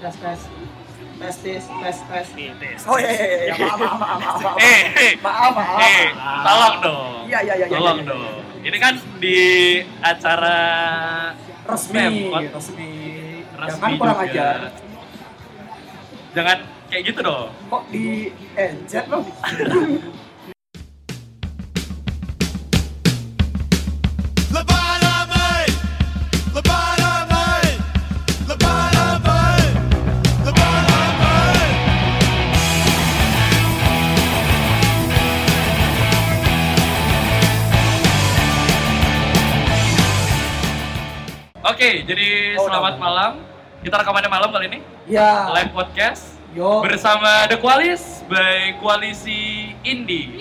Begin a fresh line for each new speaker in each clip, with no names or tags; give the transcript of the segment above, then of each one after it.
tes tes tes tes tes tes
Tes.
oh iya iya iya maaf maaf maaf maaf maaf
Eh, eh.
maaf maaf
Eh, tolong dong.
Iya, iya, iya, iya,
Tolong
iya, iya.
dong. Ini kan di acara
resmi
Pemkot.
resmi
Resmi
jangan kurang
juga.
ajar
Jangan kayak gitu dong.
kok di encet lo
Lebat abai, lebat abai, lebat abai, lebat abai.
Oke, jadi
Oh,
selamat
udah.
malam. Kita rekamannya malam kali ini,
ya
live podcast
yo
bersama The Qualis by Koalisi Indie.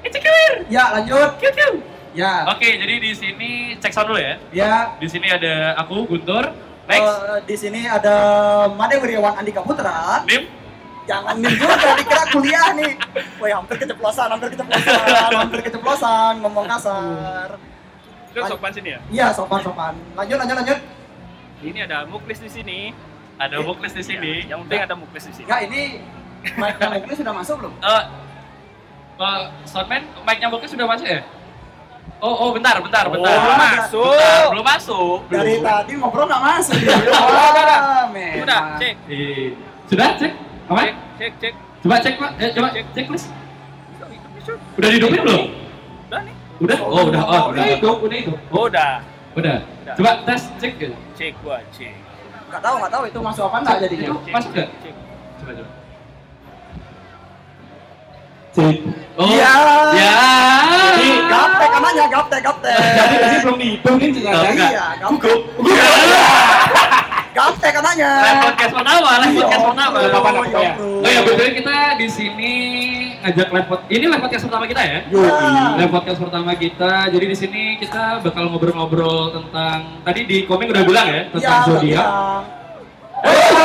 It's a killer.
ya lanjut
Kiu, kiu.
ya
Oke, jadi di sini cek sound dulu ya.
ya
Di sini ada aku Guntur, next
Eh, di sini ada Made Wiryawan Andika Putra.
Dim,
Jangan nih dulu tadi kira kuliah nih. Woi, hampir keceplosan, hampir keceplosan, hampir keceplosan, ngomong kasar.
Itu sopan sini ya.
Iya, sopan-sopan. Lanjut, lanjut, lanjut.
Ini ada muklis di sini.
ada Buklis di
Eh,
sini.
iya, Yang penting ada muklis di sini.
Enggak, ini mic-nya Mukli sudah masuk belum?
Eh, Pak Soundman, mic-nya Buklis sudah masuk ya? Oh, oh, bentar, bentar, bentar.
belum
ada.
masuk.
Bentar, belum masuk.
Dari
belum.
tadi ngobrol Iya, nggak masuk. Wah, memang.
Udah, cek,
Eh, sudah cek? Apa?
cek, cek, cek.
Coba cek, Pak. Eh, coba cek,
Cek.
cek, Lis.
Bisa, bisa, bisa.
Udah dihidupin belum?
Udah nih.
Udah? Oh, udah, oh, udah.
Udah
hidup, udah hidup.
Oh,
Udah.
Udah.
Udah.
Coba tes, cek. gitu.
Cek gua, cek.
Nggak tahu, nggak tahu itu masuk apa nggak jadinya.
Itu masuk nggak?
Cek.
Coba, coba. Cek. Oh,
Ya.
Ya.
Jadi, Gaptek namanya, gaptek, gaptek.
belum dihitungin
Iya, gaptek. Gaptek namanya.
Live podcast pertama, live podcast pertama.
Iya,
Kapan aku
iya,
ya? Oh ya, betul kita di sini ngajak live podcast. Ini live podcast pertama kita ya?
Iya.
Live podcast pertama kita. Jadi di sini kita bakal ngobrol-ngobrol tentang tadi di komik udah bilang ya
Iya,
tentang zodiak.
bilang.
Ya,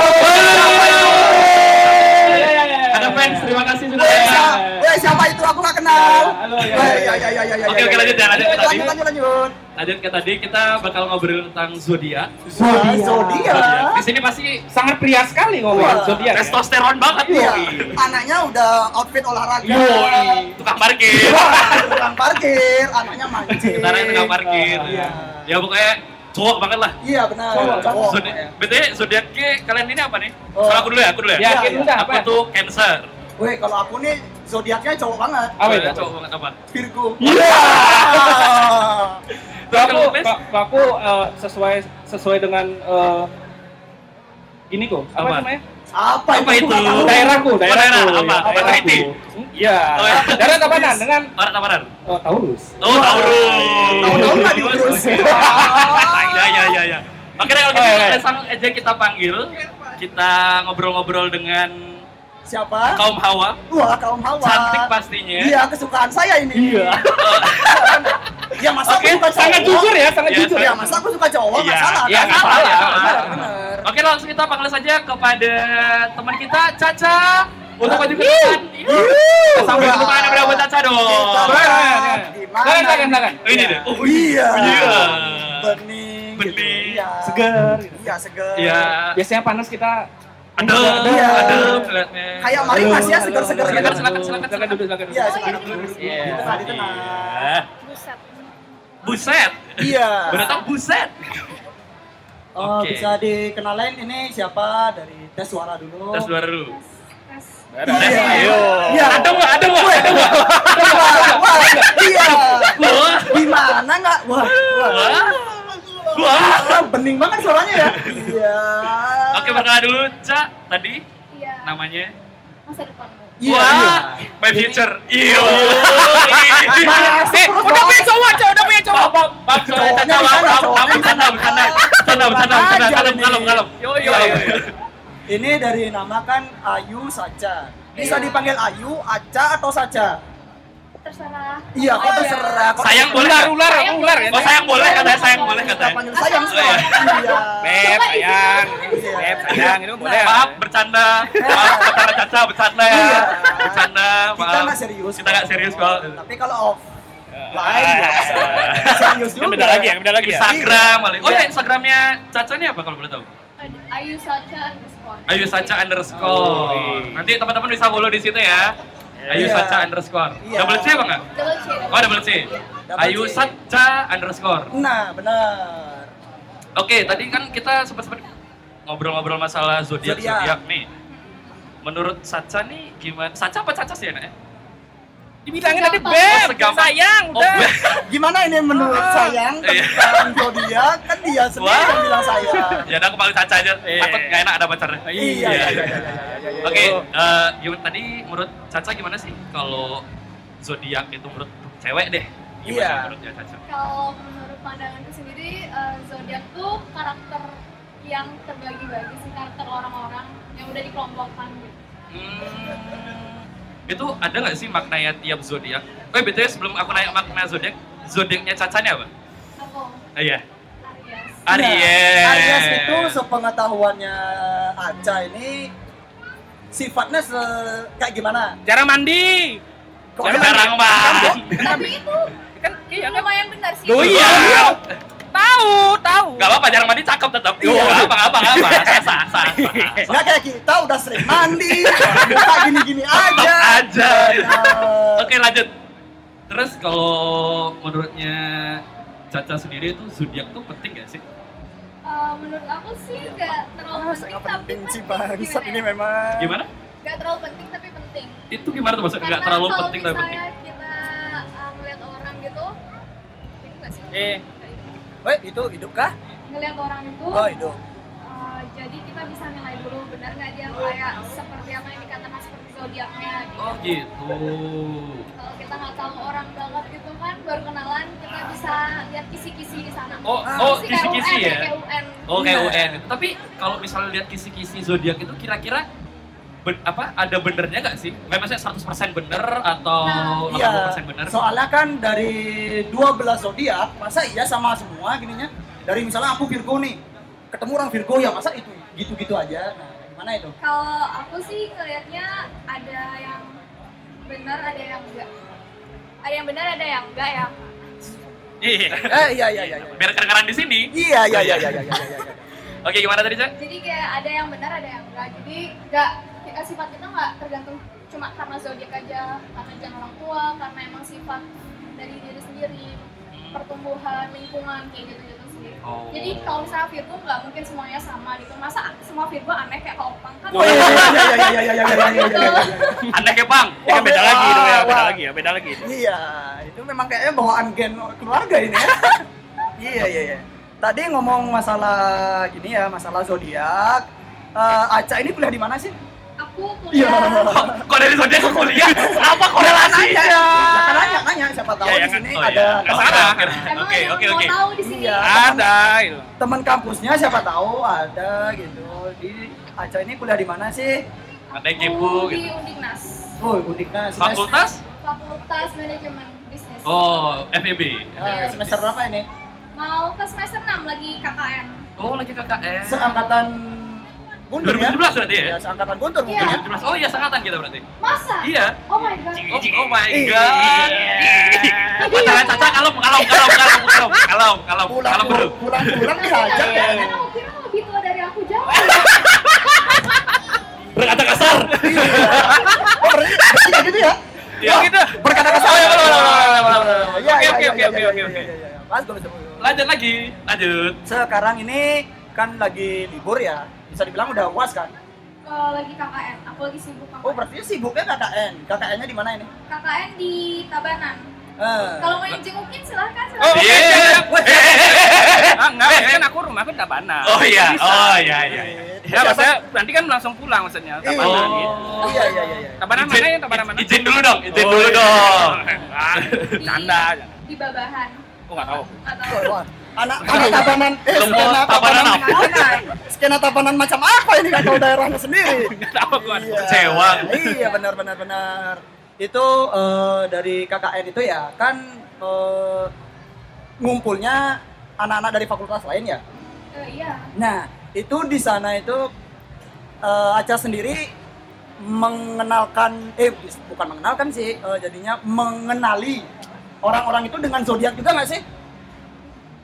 Yeay! Ada fans, terima kasih ya. sudah.
Weh, siapa- weh, siapa itu? Aku nggak kenal. Weh, ya, ya, ya, ya, ya,
Oke,
ya,
oke,
ya.
lanjut ya, lanjut, lanjut.
Lanjut, lanjut, lanjut.
Lanjut ke tadi kita bakal ngobrol tentang zodiak.
Zodiak. Iya.
Zodiak.
Iya,
Di sini pasti
sangat pria sekali ngomongin
Wah.
zodiak. ya.
testosteron banget
Iya,
nih.
anaknya udah outfit olahraga.
Ya, Yoi, tukang parkir.
Iya. Tukang parkir, anaknya mancing.
Sementara yang tengah parkir.
Iya.
Ya pokoknya cowok banget lah.
Iya, benar.
Cowok,
Cowok.
Zodiac, BTW zodiak kalian ini apa nih?
Oh.
Soal aku dulu ya, aku dulu ya.
Ya,
Yakin
iya.
udah
Aku
apa?
tuh Cancer.
Weh, kalau aku nih zodiaknya cowok banget.
Apa itu?
Soalnya Cowok banget apa?
Virgo.
Iya.
Terus
Kalau
kalau
aku,
Mes?
kalau aku eh, sesuai sesuai dengan eh, ini kok. Apa,
Apa?
namanya?
Apa,
Apa itu?
Nggak tahu.
Daerahku,
Apa
daerahku.
daerah? Apa?
ya,
Apa
daerahku.
Tahiti?
Hmm, Iya.
Oh, iya.
Daerah tapanan dengan
Orang tawaran.
eh, Taurus.
Oh, Taurus. Iya,
Tahu-tahu nggak diurus.
Ya, ya, ya, ya. Oke deh, kalau gitu
Oh, iya.
langsung aja kita panggil. Kita ngobrol-ngobrol dengan
Siapa?
kaum hawa.
Wah, kaum hawa.
Cantik ya. pastinya.
Iya, kesukaan saya ini. Iya. ya masa
Oke,
aku suka
Sangat
cowok?
jujur ya, sangat
Iya,
jujur.
Ya masa aku suka cowok?
Iya,
Nggak salah,
iya,
nggak
nggak
salah,
salah, Iya.
nggak
nggak
salah,
salah.
bener.
Oke langsung kita panggil saja kepada teman kita Caca untuk maju ke depan. Kita Sampai tepuk tangan yang buat Caca dong.
Kita
Boleh, boleh,
lihat
boleh.
gimana
Silakan, silakan,
ini.
silakan.
Oh, ini deh. Oh
Iya.
iya.
Bening. gitu.
Bening.
Iya.
Seger. gitu.
Iya, seger.
Iya.
Biasanya panas kita
Adem,
Iya.
adem kelihatannya.
Kayak mari mas ya,
Halo,
seger-seger.
halo,
Silakan, silakan,
halo.
silakan,
Silakan
silakan.
duduk, silakan duduk. Eh,
Iya,
Oh,
sekarang
ini
dulu.
terus.
Iya.
Iya.
Tenang, tenang.
Iya.
Buset.
Buset.
Iya.
Berarti buset.
Oh,
Oke.
bisa dikenalin ini siapa dari tes suara dulu.
Tes suara dulu.
Tes.
Dadah.
Iya.
Ayo.
Iya.
Adem nggak? Adem nggak? Adem nggak?
Wah, wah, Iya.
Wah.
Gimana nggak? Wah. Wah.
Wah. Wah.
Wah, Bening banget suaranya ya. Iya.
Oke, perkenalan dulu, Ca. Tadi
Iya.
namanya
Masa depanmu.
Iya. iya.
Wah, my future. Iya.
Eh, udah punya
cowok, cowok, udah punya cowok. Bang, bang, cowok,
Cowoknya
canda,
di sana, cowoknya
cowok, canda,
di
canda,
sana.
canda, canda, canda,
Aja
kalem,
nih.
kalem, kalem. Yo,
Iya,
yo, yo.
Ini dari nama kan Ayu saja. Bisa
Iya.
dipanggil Ayu, Aca atau saja.
Terserah.
Iya, kok
Aja.
terserah. Kok
Sayang boleh
Ular,
nggak?
ular,
Sayang
ular ya.
Oh, sayang boleh katanya, sayang boleh
Kita
katanya. Eh,
panggil sayang
Asal.
sayang. Iya.
Beb, sayang. Beb, Eh, sayang itu boleh.
Maaf, bercanda. Maaf, bercanda, caca, bercanda ya.
Iya.
Bercanda,
Kita
maaf.
nggak serius.
Kita nggak
kok.
serius Iya. kok.
Tapi kalau off lain nggak bisa.
Ah.
Serius Iya. juga.
Yang beda lagi, yang beda lagi ya.
Instagram, paling. Oh ya, Instagramnya Caca iya, ini apa kalau boleh tahu?
Ayu Sacha underscore.
Ayu Saca underscore. Oh, iya. Nanti teman-teman bisa follow di situ ya. Ayu
Iya.
Saca underscore.
Iya.
Double C apa enggak?
Double C.
Oh double C.
Double
Ayu
C.
Saca underscore.
Nah, benar.
Oke, tadi kan kita sempat-sempat ngobrol-ngobrol masalah zodiak
Zodiak.
zodiak nih. Menurut Saca nih gimana? Saca apa Caca sih ya, Nak? ya?
Dibilangin tadi
Gampang.
Beb,
Gampang.
sayang,
Oh,
udah.
Beb.
Gimana ini menurut sayang
Iya.
tentang zodiak kan dia sendiri
Wah.
yang bilang sayang.
Ya udah aku panggil Caca aja.
Iya.
Takut nggak enak ada pacarnya.
Iya, iya, iya, iya, iya, iya.
Oke, eh, gimana tadi menurut Caca gimana sih kalau zodiak itu menurut cewek deh? Gimana
Iya.
menurutnya Caca?
Kalau menurut pandanganku sendiri, eh, zodiak tuh karakter yang terbagi-bagi sih karakter orang-orang yang udah dikelompokkan gitu.
Hmm, itu ada nggak sih maknanya tiap zodiak? Eh btw sebelum aku nanya makna zodiak, zodiaknya Caca nih apa?
Aku
Eh, Iya.
Aries.
Nah,
Aries.
Aries itu sepengetahuannya Aca ini sifatnya se- kayak gimana?
Jarang mandi.
Kok Kan
Jarang
bilang-
jarang banget.
Tapi itu
Kan iya kan.
lumayan benar sih.
Oh iya. Tahu, tahu.
Gak apa-apa, jarang mandi cakep tetap. Gak
Iya.
apa-apa, gak apa-apa, gak apa-apa. Sah, sah, sah, sah.
Nggak kayak kita udah sering mandi, kita gini-gini aja.
aja.
Benar.
Oke lanjut. Terus kalau menurutnya Caca sendiri itu zodiak tuh penting gak sih?
Eh, menurut aku sih nggak
Ah,
terlalu penting,
sangat
tapi
penting sih
penting
bangsat ini
gimana ya?
memang.
Gimana?
Nggak terlalu penting tapi penting.
Itu gimana tuh maksudnya? Gak
Karena
terlalu
kalau
penting tapi penting.
misalnya kita uh, ngeliat orang gitu, itu nggak sih?
Eh.
Weh, itu hidup kah?
Ngeliat orang itu,
Oh, hidup.
uh, jadi kita bisa nilai dulu benar nggak dia kayak seperti apa yang dikatakan seperti zodiaknya. Gitu.
Oh gitu.
Kalau kita nggak tahu orang banget gitu kan, baru kenalan kita bisa lihat kisi-kisi di sana.
Oh,
Ah,
oh
Kisi kayak
kisi-kisi
UN,
ya?
Kayak UN.
Oh kayak
Iya.
UN. Tapi kalau misalnya lihat kisi-kisi zodiak itu kira-kira ben- apa ada benernya nggak sih? Nggak maksudnya 100% bener atau
Nah,
80%
Iya.
bener?
Soalnya kan dari 12 zodiak, masa iya sama semua gininya? Dari misalnya aku Virgo nih, ketemu orang Virgo ya masa itu gitu-gitu aja. Nah, gimana itu?
Kalau aku sih ngelihatnya ada yang benar, ada yang enggak. Ada yang benar, ada yang enggak ya.
Iya.
Eh, iya iya iya. iya.
Biar kedengeran di sini.
Iya iya iya iya iya. iya, iya.
Oke, gimana tadi, Cak?
jadi kayak ada yang benar ada yang enggak jadi enggak kayak sifat kita nggak tergantung cuma karena zodiak aja karena jalan orang tua karena emang sifat dari diri sendiri pertumbuhan lingkungan kayak gitu gitu sih
Oh.
jadi kalau misalnya Virgo nggak mungkin semuanya sama gitu masa semua Virgo aneh kayak opang kan
Oh, iya iya iya iya iya iya iya iya iya, iya. iya.
Aneh ya, Bang.
Ya kan beda
Wah,
lagi itu ya, beda
wah.
lagi ya, beda lagi itu.
Iya, itu memang kayaknya bawaan gen keluarga ini ya. iya, iya, iya. Tadi ngomong masalah gini ya, masalah zodiak. Eh, Aca ini kuliah di mana sih?
aku
Iya.
kuliah
Kok dari zodiak ke kuliah? Apa korelasi?
Nanya ya. Kan nanya, nanya siapa tahu
Ya, ya,
di
kan.
sini
Oh,
ada
ya. Nggak salah.
emang
Oke,
ada yang
oke,
mau
oke.
tahu di sini
Iya.
Ada.
gitu.
itu.
teman kampusnya siapa tahu ada gitu. Di Aca ini kuliah di mana sih?
Ada yang kepo
Aku di
gitu.
Undiknas
Oh, Undiknas. Semester-
Fakultas?
Fakultas Manajemen Bisnis
Oh, FEB.
Eh, semester
E
berapa ini?
mau ke semester 6 lagi KKN
Oh, lagi KKN.
Seangkatan Guntur ya?
2017 berarti ya?
Ya, seangkatan Guntur mungkin ya.
Iya.
2017. Oh iya, seangkatan kita berarti.
masa
Iya.
oh my god
Oh, oh my god. eh, Pacaran Caca kalem, kalem, kalem, kalem, kalem, kalem, kalem, kalem Iya, dulu.
Pulang-pulang pulang-pulang dihajar
Karena
kayaknya.
kamu kira kamu lebih tua dari aku jauh.
Berkata kasar.
Oh, berarti berarti kayak gitu ya?
Ya gitu.
Berkata kasar ya. Iya,
Oke,
iya,
oke,
iya,
oke,
iya,
oke,
iya,
oke,
iya,
oke.
iya, iya. Mas, gue bisa mulai.
Lanjut lagi. Lanjut.
Sekarang ini kan lagi libur ya, bisa dibilang udah puas kan?
Kalau lagi KKN, aku lagi sibuk KKN.
Oh berarti sibuknya KKN, KKN-nya di mana ini?
KKN di Tabanan.
Eh.
Kalau mau jengukin silahkan.
Oh,
silahkan.
oke,
Iya.
siap,
Eh,
siap.
eh, eh, eh, eh.
Ah, enggak,
Eh, eh.
kan aku rumahku di Tabanan.
Oh iya,
Bisa.
oh iya, iya. iya.
Ya, maksudnya nanti kan langsung pulang maksudnya Tabanan
Oh.
gitu.
Iya iya iya. iya.
Tabanan mana
Izin-
ya? Tabanan mana?
Izin dulu dong, izin
Oh,
dulu
iya.
dong.
Ah,
Di-
Canda aja.
Di Babahan.
Oh, enggak tahu.
Atau
Wah, wah. Anak anak tabanan, eh
Lembut
skena
tabanan
tabanan,
apa?
mana? Skena tabanan macam apa ini nggak tahu daerahnya sendiri?
Enggak tahu gua.
Iya.
Kecewa.
Iya benar benar benar. Itu eh, dari KKN itu ya kan eh, ngumpulnya anak-anak dari fakultas lain ya.
eh, iya.
Nah itu di sana itu eh, Aca sendiri mengenalkan eh bukan mengenalkan sih eh, jadinya mengenali orang-orang itu dengan zodiak juga nggak sih?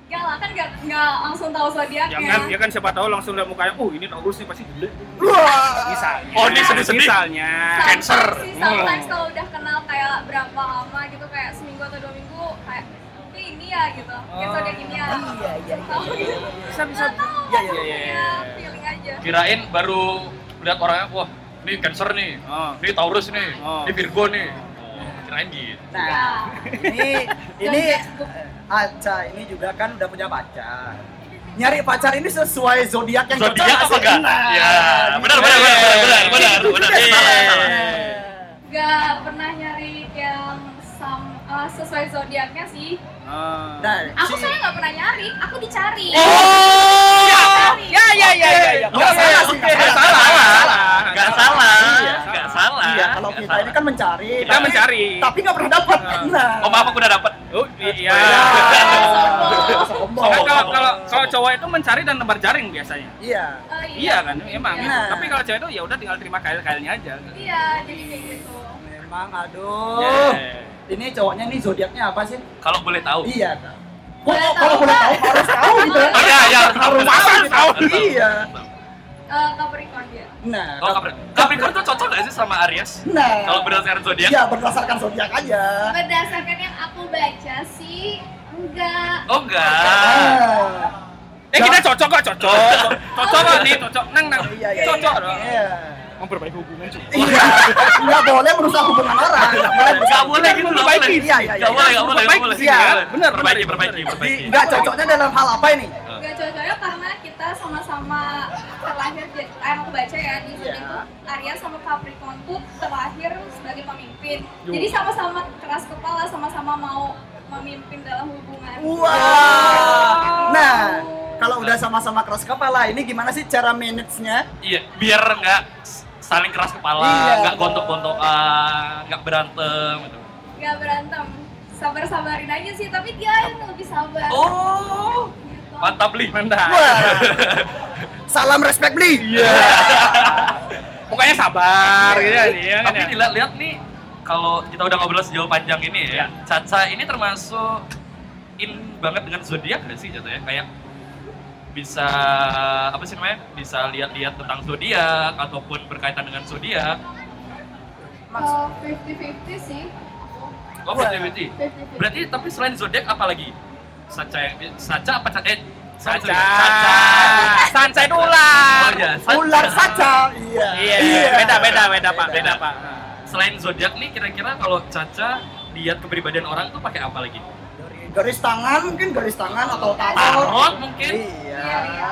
Enggak lah, kan nggak nggak langsung tahu zodiaknya.
Ya kan, ya kan siapa tahu langsung lihat mukanya, uh ini Taurus nih pasti gede.
Wah.
Bisa.
Oh, ini sedih-sedih.
Misalnya.
Cancer.
Sih,
Hmm.
sometimes kalau udah kenal kayak berapa lama gitu kayak seminggu atau dua minggu kayak ini ini ya gitu. Kayak zodiak ini ya.
Oh. Iya, iya, iya.
Tahu gitu.
Bisa, bisa.
Nggak tahu.
Iya,
Iya,
iya,
iya,
iya.
feeling aja.
Kirain baru lihat orangnya, wah ini Cancer nih,
Oh.
ini Taurus nih,
Oh.
ini Virgo nih. Kirain gitu.
Nah, ini ini eh,
Zodiac.
Aca ini juga kan udah punya pacar. Nyari pacar ini sesuai zodiak yang cocok
Zodiak
nggak
apa
sih?
enggak?
Nah,
Ya, benar benar benar benar benar benar. Iya.
Nggak pernah nyari yang sam- eh, sesuai zodiaknya sih.
Nah,
Aku
si-
soalnya nggak pernah nyari, aku dicari.
Iya.
Oh!
Dicari. Ya, ya, ya, ya, ya.
Nggak
Oke,
salah sih,
oke,
nggak
nggak
salah.
salah. Nggak salah.
Iya.
Nggak salah.
Iya, kalau
Nggak
kita ini
salah.
kan mencari,
Kita
tapi-
mencari.
tapi nggak pernah dapat. Nah.
Oh maaf aku udah dapet.
Oh, iya.
Iya.
Kan
Sombong.
kalau kalau kalau cowok itu mencari dan nebar jaring biasanya.
Iya.
Oh,
Iya kan, emang.
Iya.
Tapi kalau cewek itu ya udah tinggal terima kail-kailnya aja.
Iya, jadi kayak gitu.
Memang aduh.
Iya.
Yeah.
Ini cowoknya nih zodiaknya apa sih?
Eh, Kalau boleh tahu.
Iya. Kak. Kok
Boleh
kok-
tahu,
kalau boleh
Kak?
tahu harus tahu gitu ya.
Oh ya, ya harus tahu.
Harus
Harus
tahu.
harus
Iya.
Eh, Capricorn dia.
Nah,
Oh,
Kak-
Capricorn. Capricorn tuh cocok gak sih sama Aries?
Nah.
Kalau berdasarkan zodiak?
Iya, berdasarkan zodiak aja.
Berdasarkan yang aku baca sih, enggak.
Oh enggak.
Nah. Ah.
Eh kita cocok kok, cocok. Cocok kok nih, cocok. Nang nang.
Iya, iya.
Cocok.
iya. Iya.
Memperbaiki hubungan juga.
Iya. Nggak boleh merusak hubungan orang. Nggak boleh
Enggak boleh gitu, enggak boleh.
Iya, iya,
Enggak
iya.
boleh, enggak boleh, enggak
Perbaiki
boleh.
sih, ya.
Nggak boleh.
Benar,
perbaiki,
benar,
perbaiki, perbaiki.
Nggak cocoknya dalam hal apa ini?
Enggak cocoknya karena kita sama-sama terlahir jadi eh, aku baca ya di sini
Iya.
tuh Aries sama Capricorn tuh terlahir sebagai pemimpin. Jadi sama-sama keras kepala, sama-sama mau memimpin dalam hubungan.
Wah. Nah, kalau udah sama-sama keras kepala, ini gimana sih cara manage-nya?
Iya, biar enggak saling keras kepala,
Iya.
enggak gontok-gontokan, enggak berantem gitu.
Enggak berantem. Sabar-sabarin aja sih, tapi dia yang lebih sabar.
Oh,
Gitu.
mantap li.
Mantap.
Wah. Salam respect, Bli.
Mukanya sabar gitu ya. iya kan
Tapi
ya?
dilihat-lihat nih, kalau kita udah ngobrol sejauh panjang ini ya,
Iya.
Caca ini termasuk in banget dengan zodiak nggak sih jatuhnya? Kayak bisa apa sih namanya? Bisa lihat-lihat tentang zodiak ataupun berkaitan dengan zodiak.
Eh, 50-50 sih.
Oh,
Wah.
Iya.
LGBT.
50-50.
Berarti tapi selain zodiak apa lagi? Saca yang Saca apa Caca? Eh, Saca.
Saca.
Saca.
Sancai ular.
Oh iya, Saca.
Ular saja. Iya.
Iya, beda beda beda Pak, beda Pak.
Selain zodiak nih kira-kira kalau Caca lihat kepribadian orang tuh pakai apa lagi?
Dari garis tangan mungkin garis tangan atau
Tarot mungkin?
Iya.
Iya, iya,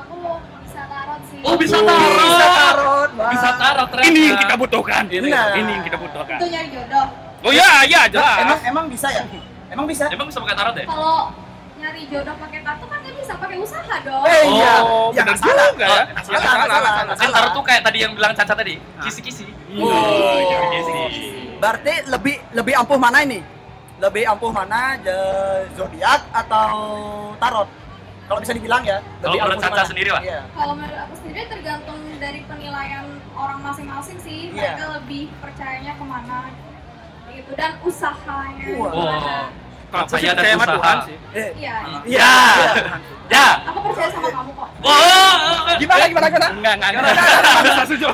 aku aku bisa tarot sih.
Oh bisa
Tuh,
tarot.
Bisa tarot. Bang.
Bisa tarot ternyata.
Ini yang kita butuhkan.
Nah.
Ini yang kita butuhkan.
Itu nyari jodoh.
Oh iya, iya
Nah, Emang
jelas.
emang bisa ya? Emang bisa?
Emang bisa pakai tarot ya?
Kalau nyari jodoh pakai kartu kan dia bisa pakai usaha dong.
Eh, iya.
Oh,
Ya, nggak
benar
salah.
juga ya.
Nggak salah, nggak salah, nggak
Kan
salah.
tarot tuh iya, kayak tadi yang bilang Caca tadi, kisi-kisi.
Oh.
Kisi-kisi.
Berarti lebih lebih ampuh mana ini? Lebih ampuh mana je- zodiak atau tarot? Kalau bisa dibilang ya.
Kalau
lebih
menurut
ampuh
Caca
mana?
sendiri, Pak?
Iya.
Kalau menurut aku sendiri tergantung dari penilaian orang masing-masing sih.
Iya.
Mereka lebih percayanya kemana gitu dan usahanya
Wah.
gimana.
Wow.
Kalau
Percaya
saya
dan
percaya sama
usaha.
Tuhan sih.
Eh,
Iya.
Iya.
Ya.
Aku percaya sama kamu kok.
Oh.
Gimana gimana gimana?
Enggak, enggak, enggak. Enggak bisa setuju.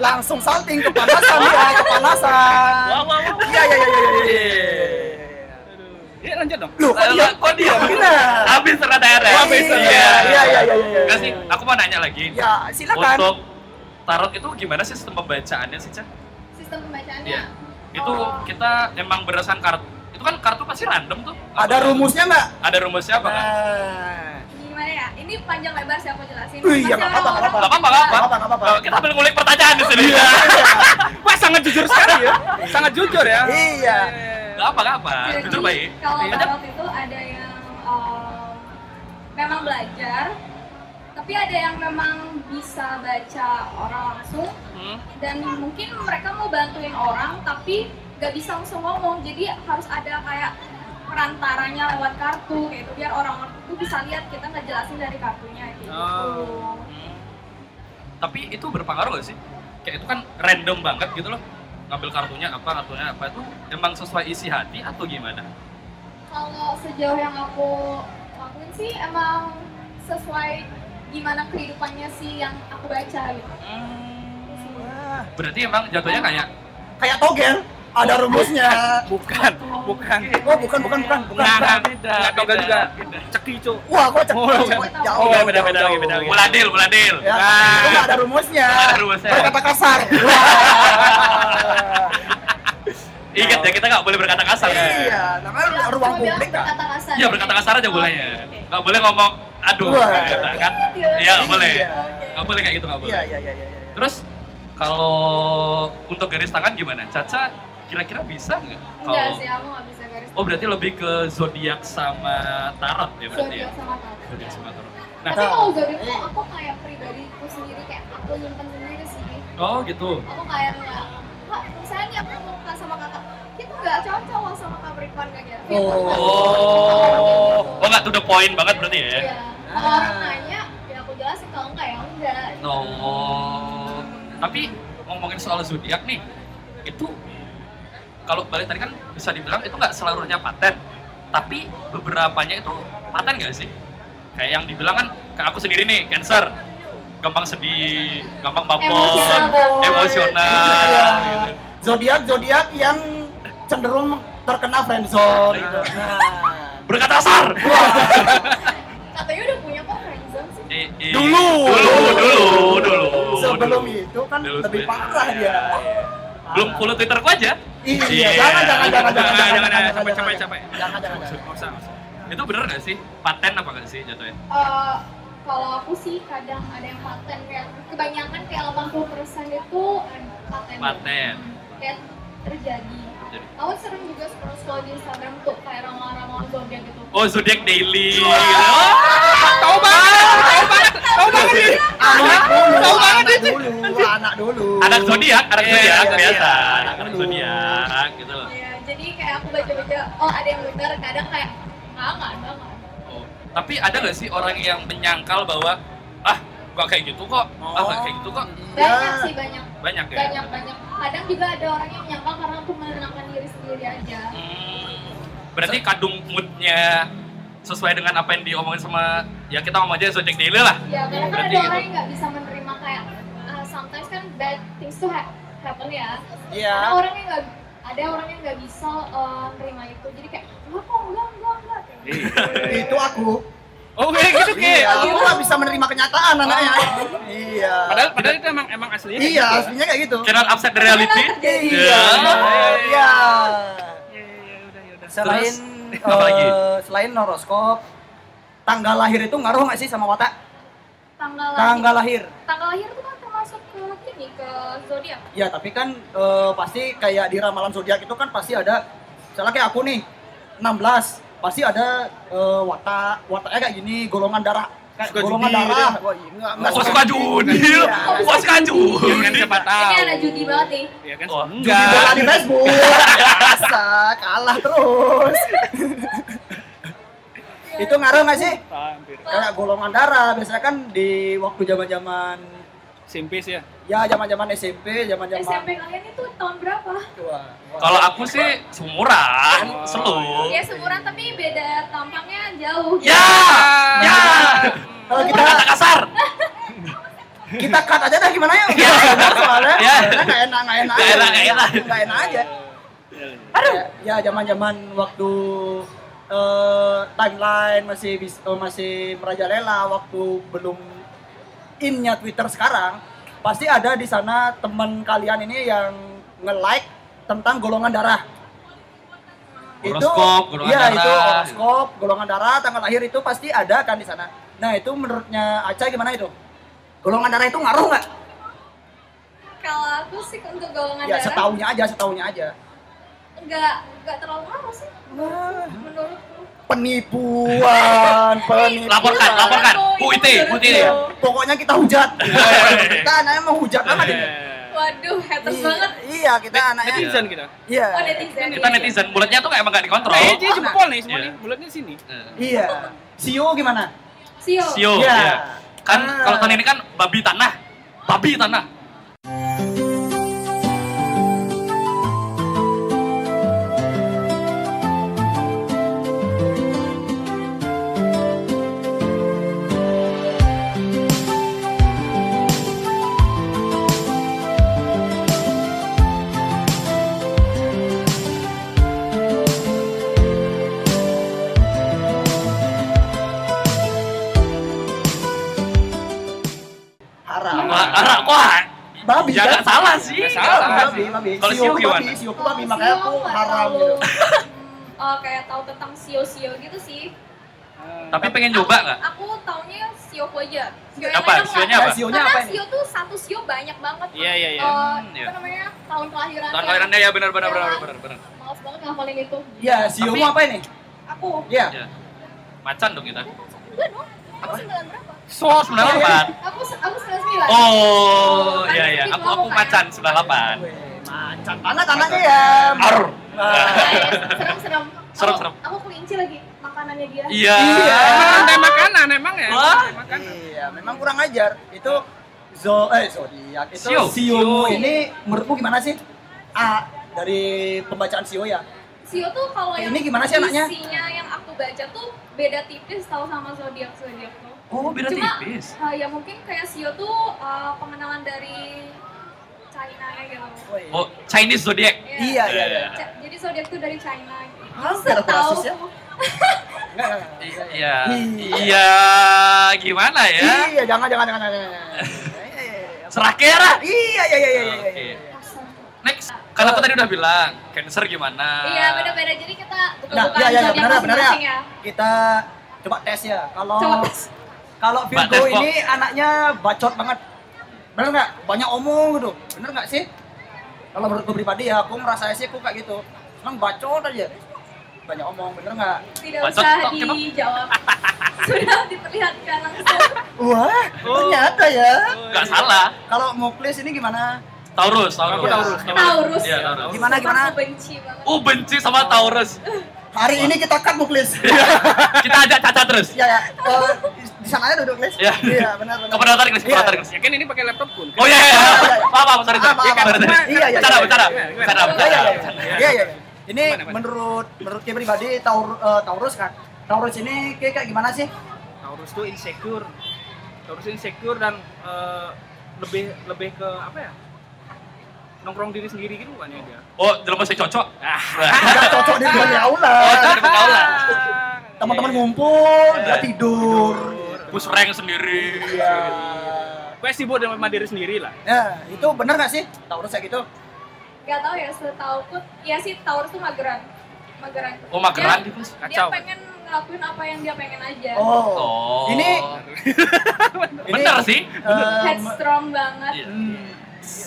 Langsung salting kepanasan ya, kepanasan.
Wah, wah, wah.
Iya iya iya iya. iya.
Ya lanjut dong.
Loh, kok dia?
Lah, Kok dia?
Benar.
Habis ternyata daerah.
Wah, habis ternyata. Iya, iya, iya, iya, iya.
Nggak sih, aku mau nanya lagi.
Ya, silakan.
Untuk tarot itu gimana sih sistem pembacaannya sih, Caca?
Sistem pembacaannya.
Iya. Itu
Oh.
kita emang berdasarkan kartu. Itu kan kartu pasti random tuh.
Ada
Apa-
rumusnya nggak?
Ada rumusnya apa kan?
Nah.
Gimana ya? Ini panjang lebar sih aku jelasin.
Wih, iya, nggak apa-apa, nggak
Gak
apa-apa.
apa-apa,
Nggak apa-apa, nggak apa-apa. Iya.
Kita ambil ngulik pertanyaan di sini.
Wah, sangat jujur sekali ya. Sangat jujur ya.
Iya.
Gak apa, gak apa.
Jadi,
Jujur baik.
Kalau
Aja.
tarot itu ada yang um, memang belajar, tapi ada yang memang bisa baca orang langsung dan mungkin mereka mau bantuin orang tapi nggak bisa langsung ngomong, jadi harus ada kayak perantaranya lewat kartu kayak gitu biar orang-orang itu bisa lihat kita ngejelasin dari kartunya kayak gitu.
Oh.
Hmm. Tapi itu berpengaruh gak sih? Kayak itu kan random banget gitu loh. Ngambil kartunya apa, kartunya apa itu emang sesuai isi hati atau gimana?
Kalau sejauh yang aku lakuin sih emang sesuai gimana kehidupannya sih yang aku baca gitu.
Wah,
Berarti emang jatuhnya kayak
Kayak togel, ada rumusnya.
Bukan, bukan.
Oh, bukan, bukan, bukan. bukan.
Nah,
beda,
nggak togel
beda,
juga.
beda.
Ceki cuk.
Wah, kok cek.
Oh,
jauh,
bukan.
jauh,
Oh, beda,
jauh,
beda, beda,
jauh.
beda, beda.
Buladil, buladil.
Ya, itu nggak ada rumusnya.
Nah. Nggak ada rumusnya.
Berkata kasar.
Ingat ya kita nggak boleh berkata kasar.
Iya, namanya
Bilang-
ruang
cuma bilang
publik kan.
Kata kasar.
Iya berkata kasar aja
Oh,
bolehnya.
oke.
Nggak boleh ngomong aduh
Wah.
kata kan.
Iya.
Iya nggak boleh.
Iya.
Nggak boleh kayak gitu nggak boleh.
Iya, iya, iya, iya. iya.
Terus kalau untuk garis tangan gimana? Caca kira-kira bisa nggak?
Enggak
Kalau
sih, aku nggak bisa garis.
Oh berarti lebih ke zodiak sama tarot ya berarti ya?
Zodiak sama tarot.
Zodiak sama tarot. Nah,
Tapi kalau zodiak
Eh.
tuh aku kayak pribadiku sendiri kayak aku nyimpen sendiri sih.
oh gitu.
aku kayak nggak Kak, misalnya nih aku ngomong ke- sama kakak kita nggak cocok loh sama Capricorn kayak gitu
Oh, oh nggak to the point banget berarti ya?
Iya. kalau orang nanya ya aku jelasin kalau enggak ya enggak
Oh, tapi ngomongin soal zodiak nih, itu kalau balik tadi kan bisa dibilang itu nggak seluruhnya paten, tapi beberapanya itu paten nggak sih? Kayak yang dibilang kan, kayak aku sendiri nih, cancer, gampang sedih, gampang bapor,
Emosional.
emosional,
Iya.
gitu.
Zodiak zodiak yang cenderung terkena friendzone
Iya.
gitu. Nah.
berkata kasar.
katanya udah punya kok friendzone sih
I- i-
Dulu.
dulu, dulu, dulu.
Sebelum
dulu.
itu kan
Dulu
lebih
sebelum-
parah
iya,
dia.
iya. Belum follow Twitterku aja.
Iya, jangan
Iya.
jangan jangan
Jangan,
jangan
jangan, jangan,
jangan,
capek,
jangan.
capek, capek.
Jangan jangan. jangan.
Nggak usah, nggak usah. Itu bener nggak sih? Paten apa nggak sih jatuhnya?
Eh, kalau aku sih kadang ada yang paten kayak kebanyakan kayak 80% itu ada paten Hmm,
Paten.
kayak terjadi
Terjadi.
aku sering juga scroll scroll di Instagram tuh kayak ramal-ramal zodiak gitu
Oh, zodiak daily.
Tahu banget, tahu banget, tahu banget ini.
Anak dulu,
Tahu banget
anak
ini.
dulu, anak dulu.
Anak zodiak, anak
Iya,
zodiak
iya,
biasa.
iya, anak
Anak
dulu.
zodiak gitu loh.
Iya, jadi kayak aku baca-baca, oh ada yang benar, kadang kayak nggak nggak ada nggak ada.
Oh. Tapi ada nggak sih orang yang menyangkal bahwa ah gak kayak gitu kok,
Iya.
ah gak kayak gitu kok?
Banyak
Ya.
sih banyak,
Banyak ya.
banyak banyak. Kadang juga ada orang yang menyangka karena aku menenangkan diri sendiri aja.
Hmm, berarti kadung moodnya sesuai dengan apa yang diomongin sama ya kita ngomong aja zodiak daily lah.
Ya, karena
Hmm.
kan
Berarti gitu.
ada orang
itu.
yang nggak bisa menerima kayak uh, sometimes kan bad things to ha- happen ya.
Iya.
Karena orang yang nggak ada orang yang nggak bisa uh, menerima itu, jadi kayak nggak kok enggak enggak enggak. Kayak gitu.
Iya.
Itu aku.
Oh, kayak gitu
Iya,
kayak.
aku nggak bisa menerima kenyataan anaknya.
Oh.
Iya.
Padahal padahal itu emang emang aslinya. kayak
Iya,
gitu.
aslinya kayak gitu.
Cannot upset the reality.
Karena terjadi.
Iya. Iya.
Iya, iya, udah, ya udah.
Selain
Terus, apa
eh,
lagi?
selain horoskop, tanggal lahir itu ngaruh nggak sih sama watak?
Tanggal lahir.
Tanggal lahir.
Tanggal lahir itu kan termasuk ke ini ke zodiak.
Ya, tapi kan eh, pasti kayak di ramalan zodiak itu kan pasti ada misalnya kayak aku nih 16, pasti ada eh, watak wataknya kayak gini, golongan darah kayak
Suka
golongan
judi
darah.
gitu
Wah, enggak, enggak
Kok suka judi? Kok suka
Iya kan
judi?
siapa tahu.
Ini ada judi banget nih.
Iya kan?
Oh,
Judi bola
Enggak.
di Facebook. Biasa, kalah terus. itu ngaruh nggak sih?
Ah,
hampir
Kayak golongan darah biasanya kan di waktu zaman-zaman
simpis ya
ya zaman-zaman SMP,
SMP
zaman-zaman
kalian itu tahun berapa?
tua.
Kalau aku sih seumuran, selu.
Ya seumuran tapi beda tampangnya jauh.
Ya, ya.
Kalau kita
Kata kasar.
kita cut aja dah gimana ya? Soalnya
Iya.
soalnya nggak enak, nggak enak,
Nggak
aja.
enak, nggak enak.
Nggak enak aja. Aduh. Ya zaman-zaman waktu eh, timeline masih bis- eh, masih merajalela, waktu belum innya Twitter sekarang, pasti ada di sana teman kalian ini yang nge-like tentang golongan darah.
Horoskop, golongan
iya, itu
darah. gitu.
horoskop, golongan darah, tanggal lahir itu pasti ada kan di sana. Nah, itu menurutnya Aca gimana itu? Golongan darah itu ngaruh nggak?
Kalau aku sih untuk golongan
Ya,
darah
setahunya aja, setahunya aja.
enggak enggak terlalu lama sih menurutku.
Penipuan, penipuan.
Eh, Laporkan,
Iya.
laporkan.
Menurutku,
Bu
ini
IT, Bu ya. IT.
Iya,
menurutku.
pokoknya kita hujat. kita anaknya mau hujat banget
Iya.
ini.
Waduh, haters banget.
Iya, kita anaknya.
netizen kita
Iya.
Oh, netizen.
Kita netizen, bulatnya tuh emang gak dikontrol.
Kayaknya dia Eh, jempol nih, semua
Iya.
nih, bulatnya sini.
Iya. Sio gimana?
Sio.
Sio,
Iya.
ya. Kan
Ah.
kalau tahun ini kan babi tanah, babi tanah.
arah.
Wah, arah kok
Babi
ya nggak
kan?
salah sih.
Nggak salah.
Babi, babi.
Kalau
Siu
siu
babi,
gimana?
siu aku
Kalau
babi makanya
sio
aku
nggak
haram
terlalu,
gitu.
eh, kayak tahu tentang sio-sio gitu sih.
Ah.
Tapi pengen nyoba nggak?
Aku taunya sio aja. Sio
Apa?
Dan
Sionya apa?
Nah, sionya apa
Karena
ini?
sio tuh satu sio banyak banget.
Iya, iya, iya.
Eh,
Hmm, iya.
apa namanya? Tahun kelahiran.
Tahun kelahirannya ya benar benar benar benar benar.
Males banget ngapalin itu.
Iya, siu
Tapi-
mau apa ini?
Aku.
Iya.
Ya. Macan dong kita.
Enggak dong. Aku sembilan berapa?
So 98.
Aku se- aku sembilan sembilan.
Oh,
Kan
iya iya.
itu
Aku aku
kayak-
macan 98.
Weh, Macan anak-anaknya ya.
Ar.
Nah,
iya. Serem serem.
Serem,
Aku-
serem.
Aku kelinci lagi makanannya dia.
Iya.
Iya.
Emang ada makanan emang ya?
Wah.
Ada makanan.
Iya, memang kurang ajar. Itu zo eh zodiak itu
Sio.
Siomu ini menurutmu gimana sih? A dari pembacaan Sio ya.
Sio tuh kalau yang
Ini gimana sih anaknya?
Isinya yang aku baca tuh beda tipis tahu sama zodiak zodiak tuh.
Oh, beda
Cuma-
tipis.
Ah, ya mungkin kayak Sio tuh ah, pengenalan dari China ya gitu.
Weh.
Oh, Chinese zodiac.
Ya.
Iya, iya, iya.
Ca- Jadi zodiak tuh dari China. gitu.
Hampir aku
Tahu.
rasis ya. Enggak, enggak, enggak.
Iya.
Iya.
Iya, gimana ya?
Iya, jangan jangan jangan. jangan, jangan. Iya, iya, iya.
Serah kera.
Iya, iya, iya, iya, iya, iya,
Oke.
iya.
Kasar.
Next, karena aku tadi udah bilang Cancer gimana?
Iya, beda-beda. Jadi kita
Nah,
bukan
iya, iya, iya, benar
zodiak
ya, benar ya.
masing-masing ya.
Kita coba tes ya. Kalau
Coba tes.
kalau
Mbak,
Virgo
tes, Mbak.
ini anaknya bacot banget. Bener nggak? Banyak omong gitu. Bener nggak sih? Kalau menurut gue pribadi ya, aku merasa sih aku kayak gitu. Emang bacot aja. Banyak omong, bener nggak?
Tidak
Bacot,
usah
tok, kenapa?
dijawab. Sudah diperlihatkan langsung.
Wah,
Oh.
ternyata ya.
Gak salah.
Kalau Muklis ini gimana?
Taurus, Taurus.
Aku Taurus.
Taurus.
Iya, Taurus.
Gimana,
Sumpah
gimana?
aku benci banget.
Oh, benci sama Taurus.
Hari ini kita cut Muklis.
Kita ajak Caca terus.
Iya, ya. Eh, di- di sana aja duduk, Klis.
Iya.
Iya, benar, benar.
Kepada Tarik, Chris.
Iya.
Kepada Tarik, Chris.
Ya kan ini pakai laptop pun.
Oh iya,
Iya,
iya,
iya,
iya.
iya.
Maaf, maaf, sorry, sorry.
Maaf, maaf,
Sorry,
maaf. Iya,
sorry.
iya,
Bercanda,
iya.
bercanda.
Gimana, gimana?
Bercanda,
Iya,
bercanda.
iya, iya. Iya, iya. Ini
Gimana, gimana?
menurut menurut kita pribadi Taur, eh, Taurus kan. Taurus ini kayak kayak gimana sih?
Taurus tuh insecure. Taurus insecure dan eh, lebih lebih ke apa ya? Nongkrong diri sendiri gitu bukannya dia. Ah,
Oh, jelema sih cocok.
Enggak cocok di dunia aula.
Oh, jadi kau lah.
Teman-teman ngumpul, dia
Iya.
tidur.
Push rank sendiri.
Iya.
Gue sibuk dengan mandiri sendiri lah.
Nah, itu benar nggak sih? Taurus kayak gitu.
Gak tau ya, setauku, ya sih Taurus tuh mageran. Mageran.
Oh, mageran
Dia,
dia, Mas.
dia
Kacau.
pengen ngelakuin apa yang dia pengen aja.
Oh.
Oh.
Ini ini,
bener sih.
eh,
Headstrong banget.
Iya.
hmm,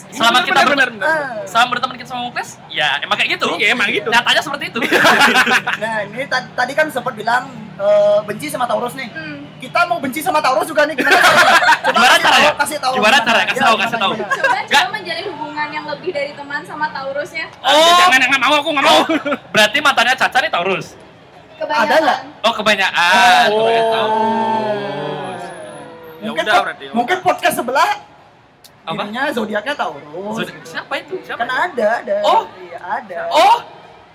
Selama kita
benar
ber- Eh,
ah.
selama berteman kita sama Mukles, ya emang kayak gitu.
Iya, emang gitu.
Nyatanya seperti itu.
Nah, ini ta- tadi kan sempat bilang eh, benci sama Taurus nih.
Hmm.
Kita mau benci sama Taurus juga nih. Gimana caranya? Coba
Gimana
kasih tahu- Kasih
caranya?
tahu.
Gimana caranya? ya? Kasih
Iya,
tahu, kasih
gimana-
tahu.
gimana?
Coba
Nggak.
coba menjalin hubungan yang lebih dari teman sama ya. Taurusnya.
Oh.
Jangan nggak mau aku nggak mau.
Berarti matanya Caca nih Taurus.
Kebanyakan.
Ada nggak?
Oh, kebanyakan.
Oh.
Kebanyakan Taurus.
Ya
iya. mungkin
udah,
pod-
berarti, ya
mungkin podcast sebelah
Apa?
ininya zodiaknya Taurus.
Zod- Siapa itu? Siapa?
Kan ada, ada.
Oh.
Iya, ada.
Oh,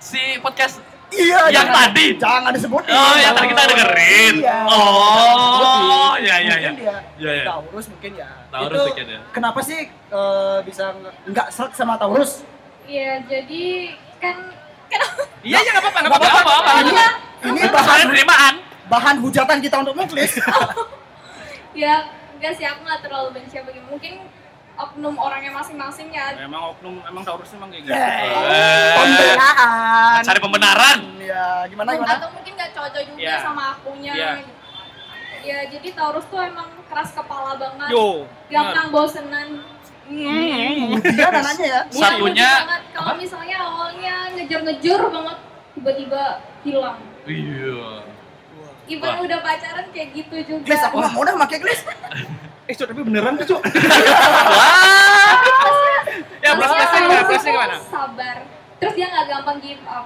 si podcast.
Iya,
yang
jangan-
tadi?
Jangan disebutin.
Oh, yang tadi kita dengerin.
Iya.
Oh, iya, iya, iya.
Mungkin dia
Iya, iya.
Taurus mungkin ya.
Taurus
Itu
mungkin ya.
Kenapa sih eh, bisa nge- nggak seret sama Taurus?
Iya, jadi kan kenapa?
Iya, iya enggak apa-apa, enggak
Gak
apa-apa.
apa-apa.
Iya.
Ini
Soalnya
bahan
terimaan.
bahan hujatan kita untuk muklis.
Ya, enggak sih aku nggak terlalu benci apa gimana. Mungkin oknum orangnya masing-masing ya.
Emang oknum emang Taurus emang kayak gitu.
Eh,
Pembelaan.
Cari pembenaran.
Ya, gimana gimana?
Atau mungkin nggak cocok juga
Iya.
sama akunya.
Iya.
Ya, jadi Taurus tuh emang keras kepala banget.
Yo.
Gampang bosenan.
Dia anaknya ya.
Iya,
Satunya-
bener banget. kalau misalnya awalnya ngejar-ngejar banget tiba-tiba hilang.
Iya.
Even
Wah.
udah pacaran kayak gitu juga.
Glis, aku nggak mau dah pakai glis.
Eh, Cuk, tapi beneran tuh, Cuk.
Ya,
Terus
plus
yang
plusnya
paling
gimana? Plusnya
susah
gimana?
tuh Sabar. Terus dia nggak gampang give up.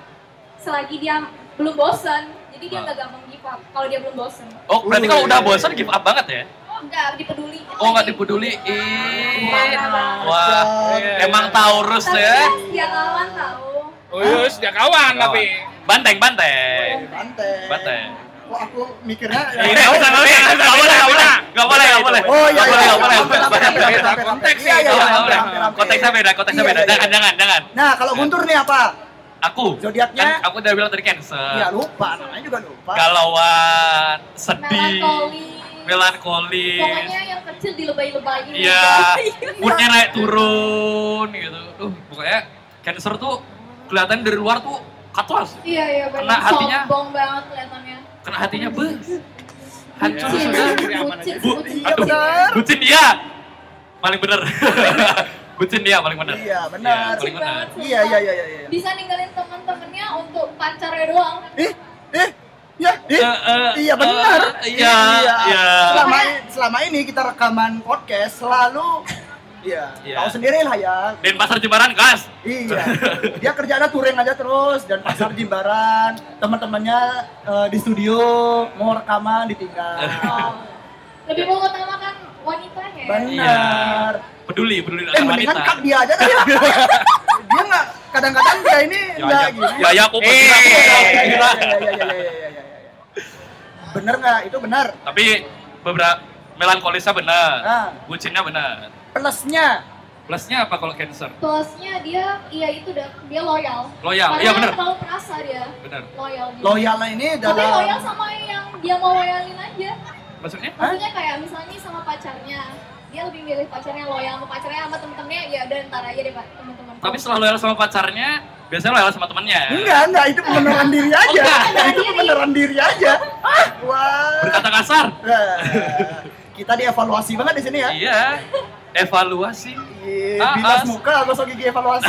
Selagi dia belum bosen, jadi dia
Wah.
nggak gampang give up. Kalau dia belum bosen.
Oh, berarti kalau udah bosan give up banget ya?
Oh nggak dipeduli.
Oh, nggak
Iya,
dipeduliin. Wah, iya.
Wah.
emang Taurus
Tapi
ya.
dia kawan tahu.
Oh, iya, dia kawan tapi.
Banteng, banteng.
Banteng.
Banteng.
Kok aku mikirnya ya.
Eh, Nggak usah, nggak usah, nggak usah, nggak boleh, nggak boleh, nggak boleh, nggak boleh.
Oh iya,
Nggak
iya,
boleh,
iya,
nggak boleh.
hampir, hampir, hampir, hampir, hampir.
Konteks
Iya,
sih,
iya,
Nggak boleh,
hampir,
nggak boleh.
hampir, hampir.
Konteksnya beda, konteksnya
Iya,
beda.
iya, iya.
Jangan, jangan, jangan.
Nah, kalau Guntur nih apa?
Aku.
Zodiaknya?
Kan aku udah bilang tadi
Ya
Cancer.
lupa, namanya juga lupa.
Galauan, sedih.
Melankoli.
melankoli
Pokoknya yang kecil dilebay-lebayin.
Iya,
Iya.
moodnya naik turun gitu. Duh, pokoknya cancer tuh kelihatan dari luar tuh kacau sih.
Iya, iya, benar.
Kena hatinya.
Sombong banget kelihatannya.
Kena hatinya beuh. Hancur
Iya.
Bucin,
sudah.
bucin,
Bu,
bucin.
aduh, bucin dia. Paling bener. bucin dia paling bener.
Iya, benar.
Iya,
Bucin
paling bener.
banget,
Iya, iya, iya, iya. iya.
Bisa ninggalin temen-temennya untuk pacarnya doang.
Eh, eh, ya, eh.
Eh, eh,
iya benar.
eh, iya, iya.
Selama selama ini kita rekaman podcast selalu Iya,
Iya.
tahu sendiri lah ya.
Denpasar Jembaran gas.
Iya. Dia kerjanya touring aja terus dan pasar Jimbaran, teman-temannya eh, di studio mau rekaman ditinggal.
Wow. Lebih mengutamakan kan wanitanya ya.
Iya.
Benar.
Peduli, peduli
Eh
akan
mendingan cut
wanita.
dia aja dah. dia nggak kadang-kadang dia ini nggak
Ya,
gini.
ya, ya, aku bergerak, aku
Iya,
bergerak, aku
iya, iya,
bergerak.
iya, iya, iya, iya, iya, iya. Bener nggak? Itu benar.
Tapi beberapa melankolisnya benar,
Ah.
bucinnya benar.
Plusnya
Plusnya apa kalau cancer?
Plusnya dia, iya itu dah, dia loyal.
Loyal,
Karena
iya benar.
mau perasa dia.
Benar.
Loyal dia.
loyalnya ini
Tapi loyal
dalam
sama yang dia mau loyalin aja.
Maksudnya?
Maksudnya kayak misalnya nih sama pacarnya. Dia lebih milih pacarnya loyal sama pacarnya sama temen-temennya. Ya udah ntar aja deh pak temen-temen.
Tapi setelah loyal sama pacarnya, biasanya loyal sama temannya.
enggak enggak itu pemeneran diri aja
enggak.
itu pemeneran diri aja ah wah
Berkata kasar.
Nah, kita dievaluasi banget di sini ya
Iya. Evaluasi.
Iya,
Ah,
bilas
ah.
muka gosok gigi evaluasi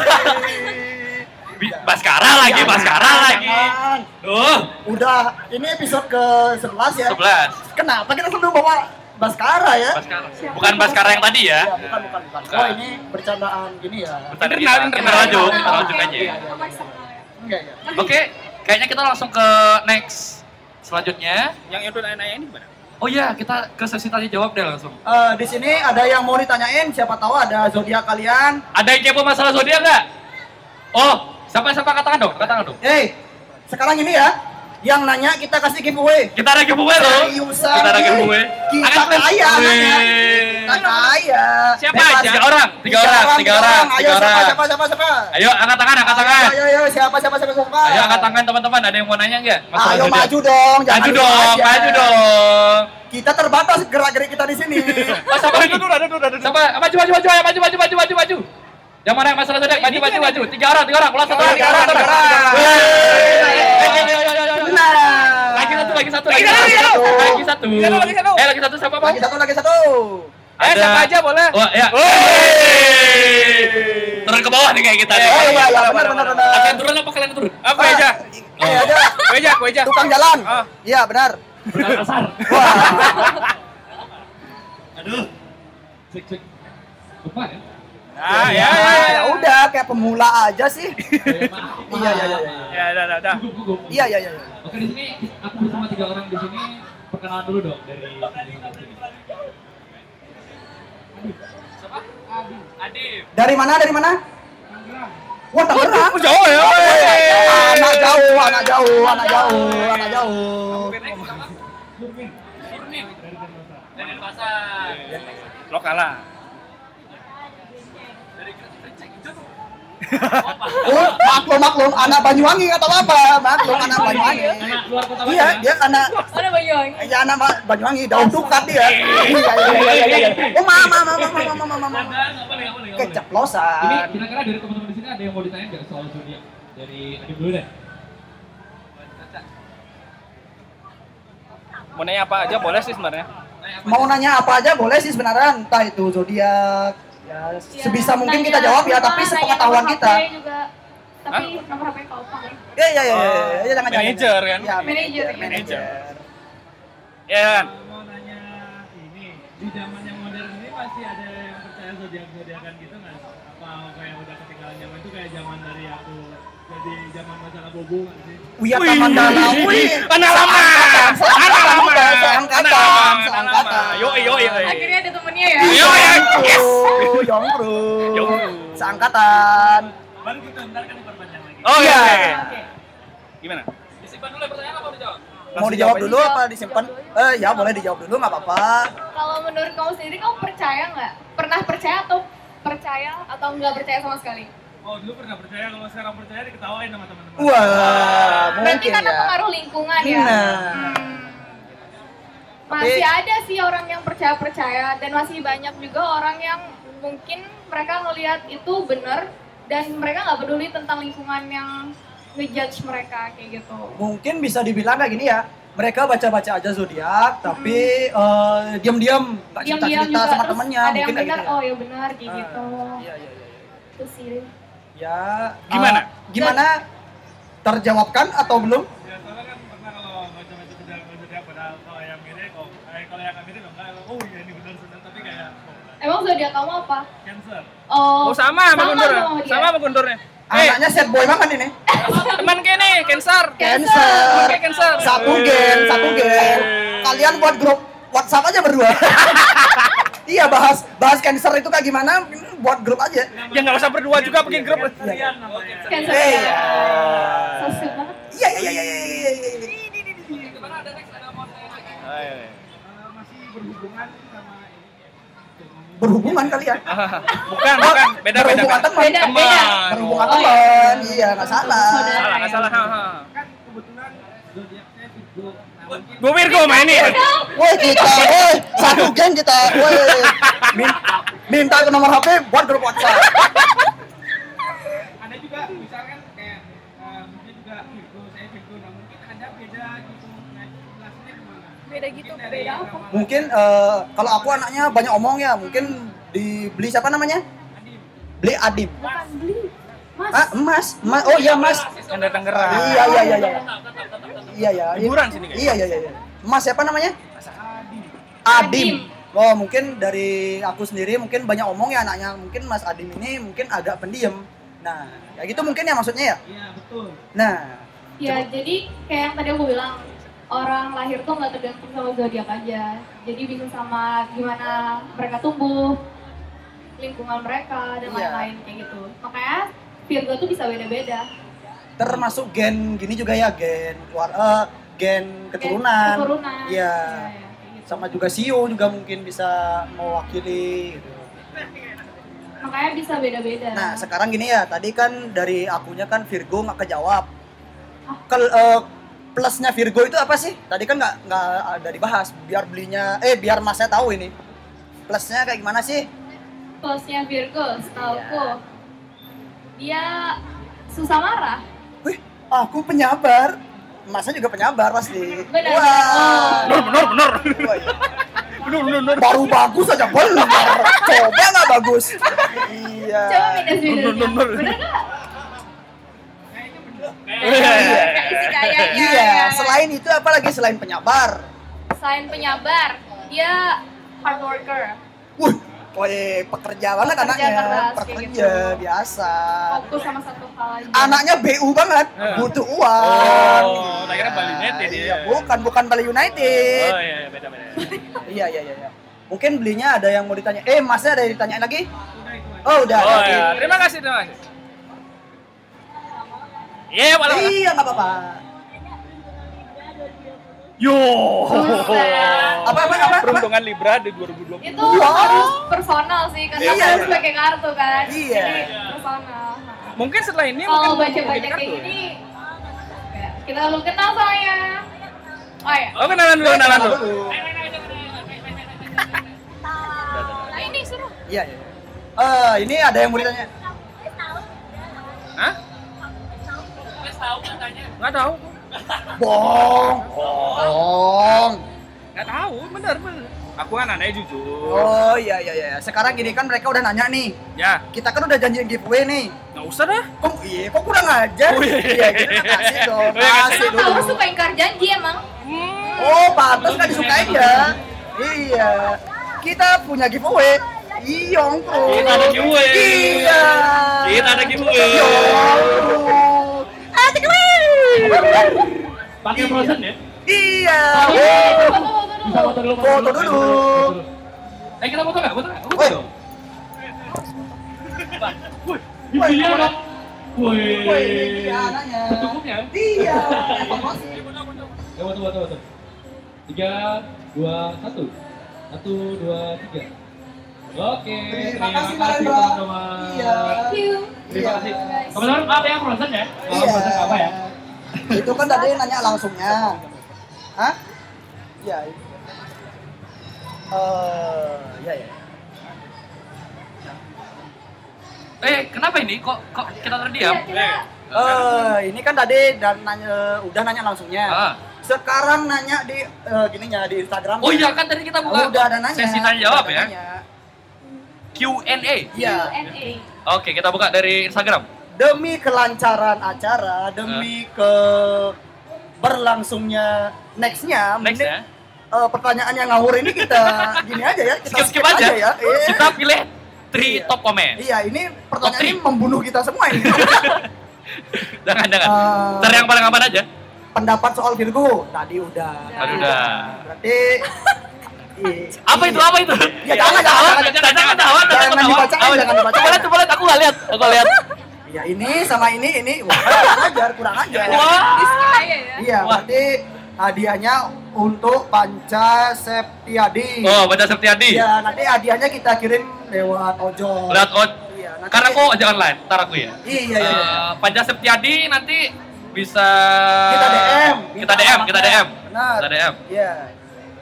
Bi- Baskara lagi,
Jangan,
Baskara lagi.
jangan.
Duh,
udah ini episode ke 11
Iya.
ya
11.
kenapa kita selalu bawa Baskara ya
Baskara. Bukan Baskara yang tadi ya.
Ya, bukan, bukan, bukan.
Bukan.
Oh, ini bercandaan gini ya.
Bentar,
Internal,
kita, kita
internal.
lanjut, kita
Internal,
lanjut
oke,
aja.
oke, sama eksternal ya.
Enggak, ya.
Oke, kayaknya kita langsung ke next. Selanjutnya,
Yang Edo nanya-nanya ini gimana?
oh ya kita ke sesi tanya jawab deh langsung.
Eh, di sini ada yang mau ditanyain, siapa tahu ada zodiak kalian.
Ada yang kepo masalah zodiak nggak? Oh, siapa-siapa katakan dong, katakan dong.
Hey, sekarang ini ya, yang nanya kita kasih giveaway.
Kita ada giveaway loh.
Seriusan,
Kita ada
weh.
giveaway.
Kita
Akan flash
kaya,
giveaway.
anaknya. Kita kaya.
Siapa
Bebas.
aja? Tiga orang, tiga orang, tiga orang,
Ayo
tiga orang.
siapa, siapa, siapa, siapa?
Ayo angkat tangan, angkat tangan.
Ayo, ayo, siapa, siapa, siapa, siapa?
Ayo angkat tangan teman-teman, ada yang mau nanya nggak? Masalah
Ayo
zodiak.
maju dong, jangan
Maju ya.
diem
dong,
aja.
maju dong.
Kita terbatas gerak-gerik kita di sini.
Mas apa lagi? Siapa? Maju, maju, maju, ayo maju, maju, maju, maju, maju. Yang mana yang masalah zodiak? Maju, maju, maju. Tiga orang, tiga orang. Pulang satu orang, tiga orang, satu orang. Ayo, ayo, ayo, ayo, ayo, ayo.
Benar.
Lagi satu, lagi satu,
Lagi
lagi
satu.
satu, lagi satu.
Lagi satu, lagi satu.
Eh, lagi satu siapa mau?
Lagi satu, lagi satu.
Ada-
Eh, siapa aja boleh?
Oh, ya. Turun ke bawah nih kayak kita. nih.
Oh iya, iya, benar, benar, benar.
Kalian turun apa kalian turun?
Apa aja?
Eh, ada
Weja, weja.
tukang jalan.
Ah.
Iya, benar.
Kasar.
Wah.
Aduh. Cek cek. Lupa ya?
Ah, ya,
Ya,
ya, ya.
ya udah kayak pemula aja sih. Iya, iya, iya.
Ya, udah, udah, udah.
Gugup, gugup.
Iya, iya, iya.
Oke di sini aku bersama tiga orang di sini perkenalan dulu dong dari
Dari mana? Dari mana? Wah, Tangerang.
Oh, jauh ya. weh.
Anak jauh, anak jauh, anak jauh, anak jauh.
Dari pasar.
Lo kalah.
Oh, maklum, maklum, anak Banyuwangi atau apa? Maklum, anak Banyuwangi.
luar kota
Iya, dia anak
Oh, ada Banyuwangi.
ya anak Ba- Banyuwangi, daun dukat dia. Iya, iya, iya, iya, iya. Oh, mama, mama, mama, mama, mama.
apa nih apa nih apa nih? Ini
Keceplosan.
kira-kira dari teman-teman di sini ada yang mau ditanya nggak soal zodiak dari adik dulu deh.
Mau nanya apa aja boleh sih sebenarnya.
mau nanya apa aja boleh sih sebenarnya entah itu zodiak ya,
Ya,
sebisa mungkin
nanya
kita jawab ya
nama,
tapi
nanya
sepengetahuan
nomor
kita
HP juga. Tapi nomor HP kau pakai.
ya
Iya.
ya ya ya, ya, ya jangan
Manager
jangan.
kan?
ya,
Manager,
manager
ya.
manager
Ya kan?
Mau nanya ini di zaman yang modern ini pasti ada yang percaya zodiak-zodiakan gitu nggak? Apa apa yang udah ketinggalan zaman itu kayak zaman dari aku jadi zaman masalah bobo nggak sih?
Wih, taman dalam. Wih,
Anak lama. Anak lama.
Seangkatan,
Anak lama.
seangkatan.
Yo, yo, yo.
Akhirnya ada temennya ya.
Iya.
Yo, yo. Yes.
Yongkru, Yongkru,
Yongkru.
seangkatan.
Baru kita ntar kan diperpanjang lagi.
Oh iya.
Iya.
iya, iya. Gimana?
Disimpan dulu ya pertanyaan apa dijawab?
Mau dijawab dulu apa disimpan? Eh, ya boleh dijawab dulu, nggak apa-apa.
Kalau menurut kamu sendiri, kamu percaya nggak? Pernah percaya atau percaya atau nggak percaya sama sekali?
Oh dulu pernah percaya kalau sekarang percaya diketawain sama teman-teman.
Wah,
Berarti
mungkin
karena
ya.
pengaruh lingkungan ya.
Nah.
Hmm.
Tapi-
Masih ada sih orang yang percaya-percaya dan masih banyak juga orang yang mungkin mereka ngelihat itu bener dan mereka nggak peduli tentang lingkungan yang ngejudge mereka kayak gitu.
mungkin bisa dibilang kayak gini ya mereka baca-baca aja zodiak tapi eh, diam-diam nggak
Hmm. Diam-diam
cerita-cerita sama
terus
temennya
ada yang
mungkin kayak
benar,
gitu
oh ya benar kayak
Ah,
gitu.
ya. Iya, iya, iya, iya.
Itu sih.
ya eh,
Gimana?
gimana terjawabkan atau belum
Ya, soalnya kan pernah kalau baca-baca jejak jejak padahal kalau yang mirip, oh, eh, kalau yang nggak mirip enggak, oh iya ini benar benar tapi kayak oh,
Emang zodiak kamu apa?
cancer.
Oh,
Oh sama sama
sama
Guntur.
dong iya. dia.
Sama sama Gunturnya. Eh,
anaknya set boy banget ini
teman kene Cancer.
cancer
Oke, Cancer.
satu gen satu gen kalian buat grup WhatsApp aja berdua iya bahas bahas cancer itu kayak gimana buat grup aja
Ya enggak usah berdua juga bikin grup.
Iya,
Cancer.
Hey. ya.
Sosial banget.
iya iya iya iya iya, iya, iya.
Oh, iya,
Eh, Masih berhubungan sama ini.
berhubungan kalian
Bukan, bukan. Ah, Beda beda.
berhubungan teman
Beda, beda.
berhubungan
Oh, iya.
teman iya nggak salah
Saudara.
Salah, enggak salah. ha, ha.
Kan kebetulan zodiaknya Virgo. Nah, mungkin
Gue Virgo main nih.
woi kita woi satu geng kita woi Min- minta ke nomor HP buat grup WhatsApp
ada juga misalkan kayak eh, mungkin juga Virgo, saya Virgo. Nah, mungkin ada beda gitu. Nah, jelasnya gimana?
Beda gitu, beda apa?
mungkin eh, kalau aku anaknya banyak omong ya mungkin dibeli siapa namanya beli Adib
Bukan beli. Mas.
ah emas emas oh iya mas
Kan datang gerah.
iya iya iya iya iya iya
Hiburan sini, guys.
iya iya iya iya. mas siapa namanya Adim Oh mungkin dari aku sendiri mungkin banyak omong ya anaknya mungkin Mas Adim ini mungkin agak pendiam. Nah kayak gitu mungkin ya maksudnya ya.
Iya, betul.
Nah
Ya, jadi kayak yang tadi aku bilang, orang lahir tuh nggak tergantung sama zodiak aja. Jadi bisa sama gimana mereka tumbuh, lingkungan mereka dan
Iya.
lain-lain kayak gitu. Makanya Virgo tuh bisa beda-beda.
termasuk gen gini juga ya gen keluar eh, gen keturunan.
Kayak Keturunan.
Iya.
iya, kayak gitu.
Sama juga Sio juga mungkin bisa mewakili. Gitu.
Makanya bisa beda-beda.
Nah sekarang gini ya tadi kan dari akunya kan Virgo nggak kejawab. Kel eh, plusnya Virgo itu apa sih? Tadi kan nggak nggak ada dibahas. Biar belinya eh biar masnya tahu ini. Plusnya kayak gimana sih?
Plusnya Virgo,
Iya.
setauku. Dia susah marah.
Wih, aku penyabar. Masa juga penyabar pasti.
Benar.
Wah.
Oh.
Benar, benar.
Wah, iya.
Benar, benar.
Baru bagus aja belum. Coba nggak bagus. Iya.
Coba minus minusnya.
Bener, bener, bener.
Bener nggak?
Iya.
Isi kayaknya.
Iya. Selain itu apa lagi selain penyabar?
selain penyabar dia hard worker
Wuh, woi pekerja banget
Pekerja
anaknya.
keras, kayak
pekerja
gitu.
biasa.
fokus sama satu hal aja
Anaknya BU banget, butuh uang.
Oh, tak kira Bali United
Iya,
ya.
bukan bukan Bali United.
Oh iya, beda beda.
Iya iya iya. iya. Mungkin belinya ada yang mau ditanya. Eh, masnya ada yang ditanyain lagi? Oh, udah.
Oh
oke.
iya, terima kasih, terima kasih. Iya, malam.
Iya, nggak apa-apa.
Yo.
Buset.
Apa apa apa? apa?
Peruntungan Libra di 2020.
itu
Wow.
harus personal sih karena
Iya.
harus pakai kartu kan
Iya.
jadi personal Nah,
Mungkin setelah ini
kalau
mungkin
baca baca
mungkin
kayak
kartu ya.
gini ya, kita belum kenal soalnya oh ya
Oh, kenalan dulu, kenalan dulu.
nah ini suruh
Iya iya. Eh, ini ada yang mau ditanya.
Hah? Nggak tahu.
Bohong. Bohong.
Nggak tahu, bener bener. Aku kan anaknya jujur.
Oh iya iya iya. Sekarang gini kan mereka udah nanya nih.
Ya,
Kita kan udah janjiin giveaway nih.
nggak usah dah.
Kok iya, kok kurang ajar?
Oh, iya.
Iya, gitu kan kasih dong.
Oh, iya, kasih
Kasih
karena
dulu.
Taurus suka ingkar janji emang Hmm.
Oh, pantas kan disukain ya. Iya. Kita punya giveaway. Iya, Ongkro.
Kita ada giveaway.
Iya.
Kita ada giveaway.
Iya, Ongkro. Ada giveaway.
Pakai frozen ya?
Iya.
Foto, foto dulu.
Kita foto dulu.
Foto dulu.
Eh kita foto nggak? Foto nggak? Foto
Woi.
dong. Woi, ini dia dong.
Woi,
Woi.
ini anaknya.
Secukupnya.
ya? Iya. Evaluasi.
Ya, foto, foto, foto. Tiga, dua, satu. Satu, dua, tiga. Oke,
Terima kasih, Mbak.
Pak Thomas.
Iya.
Thank you.
Iya.
Terima kasih.
Iya,
Teman-teman, maaf ya frozen ya. Maaf frozen nggak apa ya?
Itu kan tadi nanya langsungnya. Hah? Iya. eh ya ya.
Eh, kenapa ini? Kok kok kita terdiam?
Iya, kita
Eh, ini kan tadi dan nanya udah nanya langsungnya.
Ah.
Sekarang nanya di eh, gininya di Instagram.
Oh iya kan tadi kita buka
udah ada nanya.
sesi tanya jawab
udah ada
ya.
nanya.
Q&A.
Iya.
Q&A.
Oke, kita buka dari Instagram.
Demi kelancaran acara,
Ah.
demi ke berlangsungnya nextnya,
Next
mending,
ya.
eh, pertanyaan yang ngawur ini kita gini aja ya, kita
Skip skip aja.
ya. Iya.
Kita pilih three
Iya.
top comment.
Iya, ini pertanyaan
Oke.
ini membunuh kita semua ini.
Jangan jangan.
Eh,
Ntar yang paling aman aja.
pendapat soal Virgo tadi udah.
Tadi udah.
Berarti i-
Apa
iya.
itu? Apa itu?
Ya, jangan, jangan,
jangan, jangan, jangan, jangan,
Jangan
jangan,
dibacain,
Apa itu?
jangan dibacain.
Coba lihat, coba lihat, aku nggak lihat, aku nggak lihat.
Ya ini sama ini ini wah, kurang ajar, kurang ajar.
Saya ya.
Iya,
Wah.
berarti hadiahnya untuk Panca Septiadi.
Oh, baca Septiadi.
Iya, nanti hadiahnya kita kirim lewat ojol.
Lihat on.
Iya, nanti-
Karena aku aja online, ntar aku ya.
Iya, iya, iya.
Eh, Panca Septiadi nanti bisa
Kita DM.
Eh, Kita DM, kita DM.
Benar.
Kita DM.
Iya.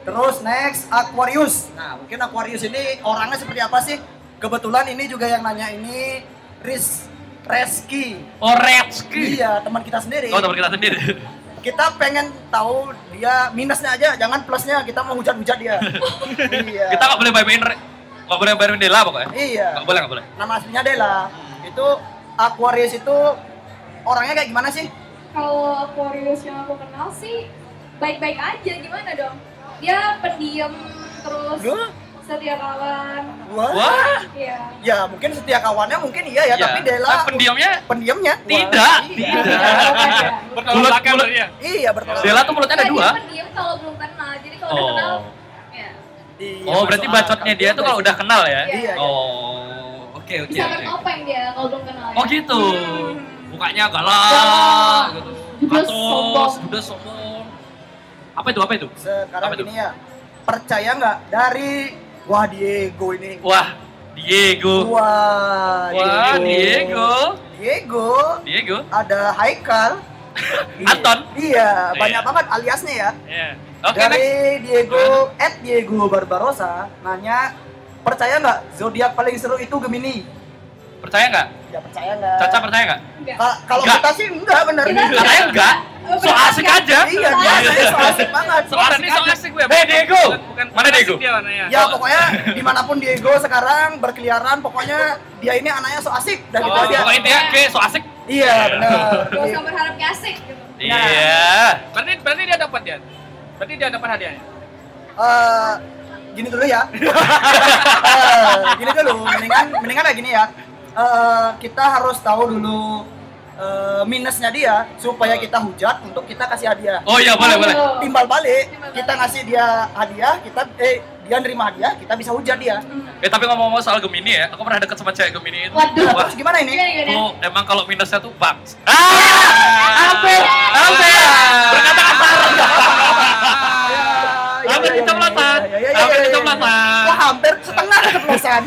Terus next Aquarius. Nah, mungkin Aquarius ini orangnya seperti apa sih? Kebetulan ini juga yang nanya ini Riz Reski.
Oretski.
Iya, teman kita sendiri.
Oh, teman kita sendiri.
Kita pengen tahu dia minusnya aja, jangan plusnya. Kita mau hujat-hujat dia. iya.
Kita nggak boleh main-main, re- nggak boleh main Dela pokoknya.
Iya.
Nggak boleh, nggak boleh.
Nama aslinya Dela. Itu Aquarius itu orangnya kayak gimana sih?
Kalau Aquarius yang aku kenal sih baik-baik aja gimana dong? Dia pendiam terus
Gua?
setia kawan.
Wah.
Wah,
Iya.
Ya, mungkin setia kawannya mungkin iya ya,
Iya.
tapi Dela
Ah, pendiamnya
pendiamnya Wah,
Tidak,
iya.
tidak. Mulut, mulut,
Iya, bertolak.
Dela tuh mulutnya ada
Nah,
dua.
Dia pendiam kalau belum kenal. Jadi kalau
Oh.
udah kenal ya.
Iya,
Oh, berarti
masuk
bacotnya
akal.
dia tuh kalau udah kenal ya?
Iya, iya.
Oh, oke, oke.
Bisa
oke.
bertopeng dia kalau belum kenal. ya.
Oh gitu.
Hmm.
Mukanya galak gitu.
Judes
Katos,
sombong.
judes sombong. Apa itu? Apa itu?
Sekarang
Apa itu?
gini ya, percaya nggak dari Wah Diego ini?
Wah, Diego.
Wah,
Wah, Diego.
Diego
Diego.
ada Haikal. Iya.
Anton.
Iya,
Iya.
banyak banget aliasnya ya.
Oke,
dari
next.
Diego, at Diego Barbarossa, nanya, percaya nggak zodiak paling seru itu Gemini?
Percaya nggak?
Ya percaya nggak?
Caca percaya nggak?
Enggak.
Ka- Kalau
Nggak.
kita sih enggak bener.
Kita
Iya,
Katanya enggak. So asik aja.
Iya, dia asli, so asik banget.
So asik
Ini so
aja.
asik gue.
Hey, Diego.
Bukan- bukan
Mana
asik
Diego?
Dia mana ya?
Ya pokoknya dimanapun Diego sekarang berkeliaran, pokoknya dia ini anaknya so asik dan
Oh,
itu aja.
pokoknya dia oke, so asik.
Iya benar.
Gak usah berharap nyasik gitu.
Iya.
Berarti berarti dia dapat ya. Berarti dia dapat hadiahnya.
Eh, gini dulu ya. Eh, gini dulu, mendingan mendingan kayak gini ya. Eh, kita harus tahu dulu eh, minusnya dia supaya kita hujat untuk kita kasih hadiah.
Oh iya, boleh, boleh.
Aduh.
Timbal balik,
Timbal balik.
kita ngasih dia hadiah, kita eh dia nerima hadiah, kita bisa hujat dia.
Eh tapi ngomong-ngomong soal Gemini ya, aku pernah deket sama cewek Gemini itu.
Waduh.
Wah,
Nah, Terus gimana ini?
Gimana gimana?
tuh emang kalau minusnya tuh bang. Ah, hampir, hampir.
Ah!
Berkata kasar.
Iya,
Hampir keceplosan,
Ya, ya, ya, ya, ya,
hampir
ya.
keceplosan.
Wah, hampir setengah keceplosan.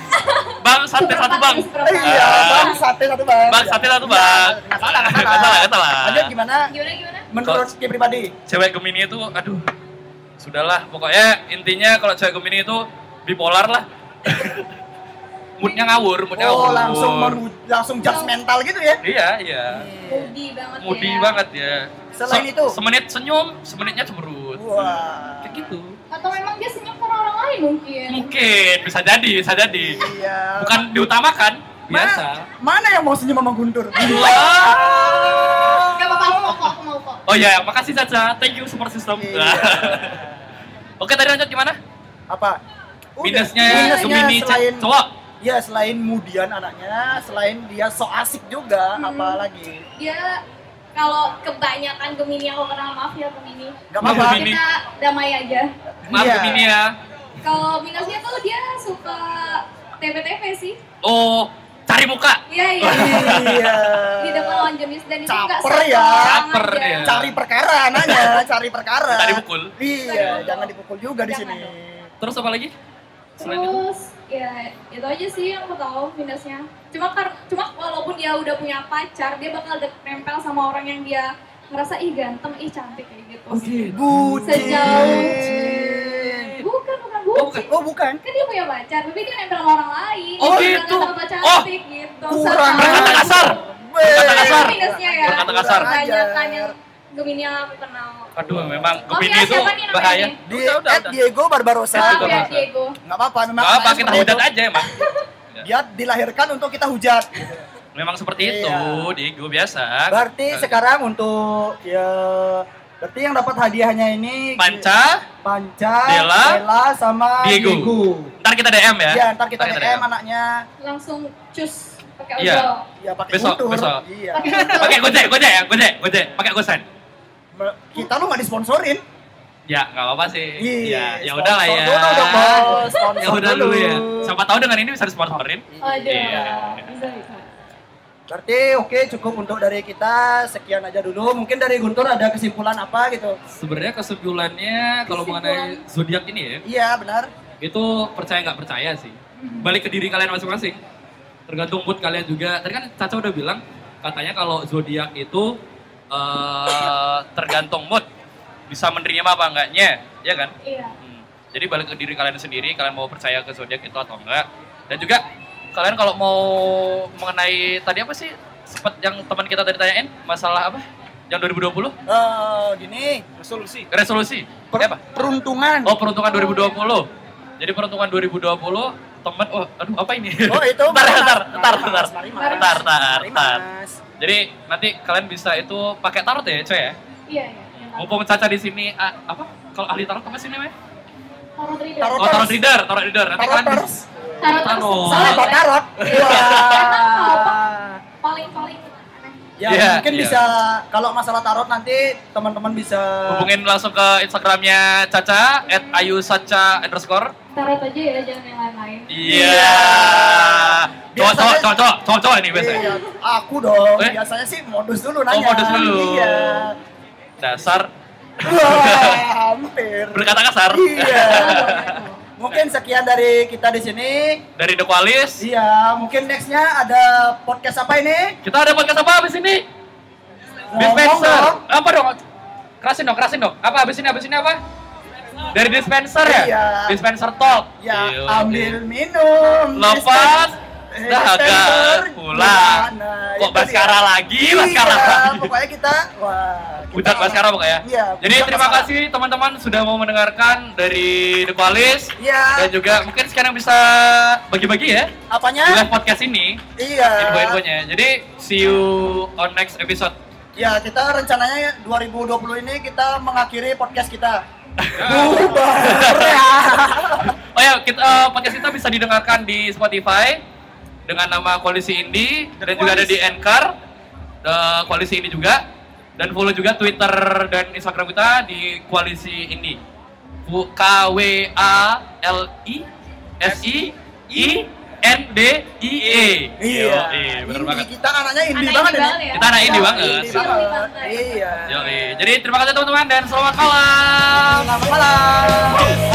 Bang sate satu bang.
Iya, bang sate satu bang.
Ya. Bang sate satu bang.
Iya, Nggak salah, nggak salah.
Nggak salah, ya, nggak salah.
Lanjut gimana?
Gimana gimana?
Menurut dia pribadi.
Cewek Gemini itu, aduh, sudahlah. Pokoknya intinya kalau cewek Gemini itu bipolar lah. moodnya ngawur, moodnya
Oh,
ngawur.
langsung mengu- langsung judgmental gitu ya.
Iya, iya.
Moody banget ya.
Moody banget ya.
Iya, Selain itu?
semenit senyum, semenitnya cemberut.
Wah.
Kayak gitu.
Atau memang dia senyum karena orang lain mungkin.
Mungkin bisa jadi, bisa jadi.
Iya.
Bukan diutamakan,
Ma-
biasa.
Mana yang mau senyum sama guntur?
Gak apa-apa, aku mau kok, aku mau kok.
Oh iya, makasih Caca. Thank you support system.
Iya.
Oke, tadi lanjut gimana?
Apa? Udah.
Minusnya
Minusnya
Gemini ce-
selain
cowok.
Ya selain mudian anaknya, selain dia so asik juga,
Hmm.
apalagi
Dia kalau kebanyakan Gemini aku kenal maaf ya Gemini.
Gak apa-apa.
Gemini.
Kita damai aja.
Maaf
Iya.
Gemini ya.
Kalau minusnya tuh dia suka TPTP sih.
Oh, cari muka.
Iya iya.
Iya.
Di depan lawan jenis dan itu enggak
Caper ya.
Caper dia.
Cari perkara anaknya, cari perkara.
Minta dipukul.
Iya, jangan dipukul juga di
Jangan
sini.
Terus apa lagi? Selain itu?
Terus ya itu aja sih yang aku tahu minusnya. Cuma kar cuma walaupun dia udah punya pacar, dia bakal de- nempel sama orang yang dia ngerasa ih ganteng, ih cantik kayak gitu.
Oke.
Bucin.
Sejauh- Bukan bukan bukan.
Oh, bukan.
Oh bukan.
Kan dia punya pacar, tapi dia nempel sama orang lain.
Oh,
Dia
gitu.
nggak tambah
Oh,
cantik gitu.
kurang
Sama-
Berkata kasar. Berkata kasar.
Itu minusnya ya.
Berkata kasar.
Kebanyakan yang Gemini yang aku kenal.
Aduh, memang
Oke,
Gemini itu
ya, siapa nih namanya
bahaya.
nih?
Di
Udah, udah,
at
udah.
Diego Barbarossa.
Maaf ya
Nggak
Diego.
apa-apa, memang.
Gak apa,
namanya
kita
seperti
hujat
itu.
aja emang.
Dia dilahirkan untuk kita hujat.
Memang seperti itu,
Iya.
Diego biasa.
Berarti
Nah,
sekarang untuk ya berarti yang dapat hadiahnya ini
Panca,
Panca,
Dela,
sama
Diego.
Diego.
ntar kita DM ya.
Iya, ntar kita DM anaknya.
Langsung cus pakai
Iya.
ojol.
Ya pakai
Besok,
utur.
besok.
Iya.
Pakai
Pakai gojek, gojek ya, gojek, gojek. Pakai gosen.
Me- Kita lu nggak disponsorin.
Ya, nggak apa-apa sih. Iya, ya
sponsor
udahlah ya.
Dulu dong, Bos. Sponsor
Ya udah dulu ya.
dulu.
Siapa tahu dengan ini bisa disponsorin.
Ada.
Iya.
Bisa bisa.
Berarti oke cukup untuk dari kita sekian aja dulu. Mungkin dari Guntur ada kesimpulan apa gitu?
Sebenarnya kesimpulannya kalau mengenai zodiak ini ya,
Iya benar.
itu percaya nggak percaya sih. Balik ke diri kalian masing-masing. Tergantung mood kalian juga. Tadi kan Caca udah bilang katanya kalau zodiak itu eh, tergantung mood. Bisa menerima apa enggaknya, ya kan?
Iya.
Hmm. Jadi balik ke diri kalian sendiri, kalian mau percaya ke zodiak itu atau enggak. Dan juga kalian kalau mau mengenai tadi apa sih sempat yang teman kita tadi tanyain masalah apa? Yang 2020
Eh gini
Resolusi.
resolusi.
per-
Eh, apa?
peruntungan.
Oh, peruntungan 2020. Jadi peruntungan 2020 teman oh aduh apa ini?
Oh itu
Ntar,
Marimas,
ntar, ntar, ntar.
Marimas, Marimas.
Ntar, ntar, ntar.
Marimas.
Jadi nanti kalian bisa itu pakai tarot ya, coy ya.
Iya iya. Yang tahu.
Mumpung Caca di sini ah, apa? Kalau ahli tarot apa sih namanya?
Tarot reader.
Tarot.
Oh, tarot reader, tarot reader. Nanti kan Oh. kalian bisa-
Taroters.
Tarot.
Tarot.
Salah kok tarot. Iya. Wah.
Paling paling aneh.
Ya
Iya,
mungkin
iya.
bisa kalau masalah tarot nanti teman-teman bisa
hubungin langsung ke Instagramnya Caca at ayusaca underscore
Tarot aja ya jangan yang lain-lain.
iya cowok cowok
Biasanya-
cowok cowok cowok cowok ini biasanya
Iya, aku dong.
Eh? Oh,
Biasanya sih modus dulu nanya.
modus dulu.
Iya.
dasar
Wah, hampir.
berkata kasar
Iya.
Boleh.
Mungkin sekian dari kita di sini.
dari The Qualis
Iya, mungkin nextnya ada podcast apa ini?
kita ada podcast apa abis ini
Ngomong
dispenser
dong.
apa dong kerasin dong kerasin dong apa abis ini abis ini apa dari dispenser ya
Iya.
dispenser talk
Ya,
Iya,
ambil minum.
lepas
Dispen-
dahaga
dispenser.
pulang
Nah,
kok
itu
Baskara
dia.
lagi
Iya,
Baskara lagi
pokoknya kita wah. kita-
Budak Baskara pokoknya. ya.
Iya,
Jadi
Budak
terima
Baskara.
kasih teman-teman sudah mau mendengarkan dari The Qualis
Iya.
dan juga mungkin sekarang bisa bagi-bagi ya
Apanya?
di live podcast ini
Iya.
info-infonya. Jadi see you on next episode.
Ya, kita rencananya 2020 ini kita mengakhiri podcast kita. Bubar ya.
Oh ya, kita eh, podcast kita bisa didengarkan di Spotify dengan nama Koalisi Indie dan juga ada di Anchor eh, Koalisi Indie juga dan follow juga Twitter dan Instagram kita di Koalisi Indie. Ku- K W A L I S I I N D I E.
Iya.
Iya, benar
Indie,
banget. Iya,
Kita anaknya indie
Anak
banget
indie
ini.
banget ya.
Kita anak indie banget.
Indie
Biar lebih
banget.
santai.
Iya.
Yoi. Jadi terima kasih teman-teman dan selamat malam.
Selamat malam.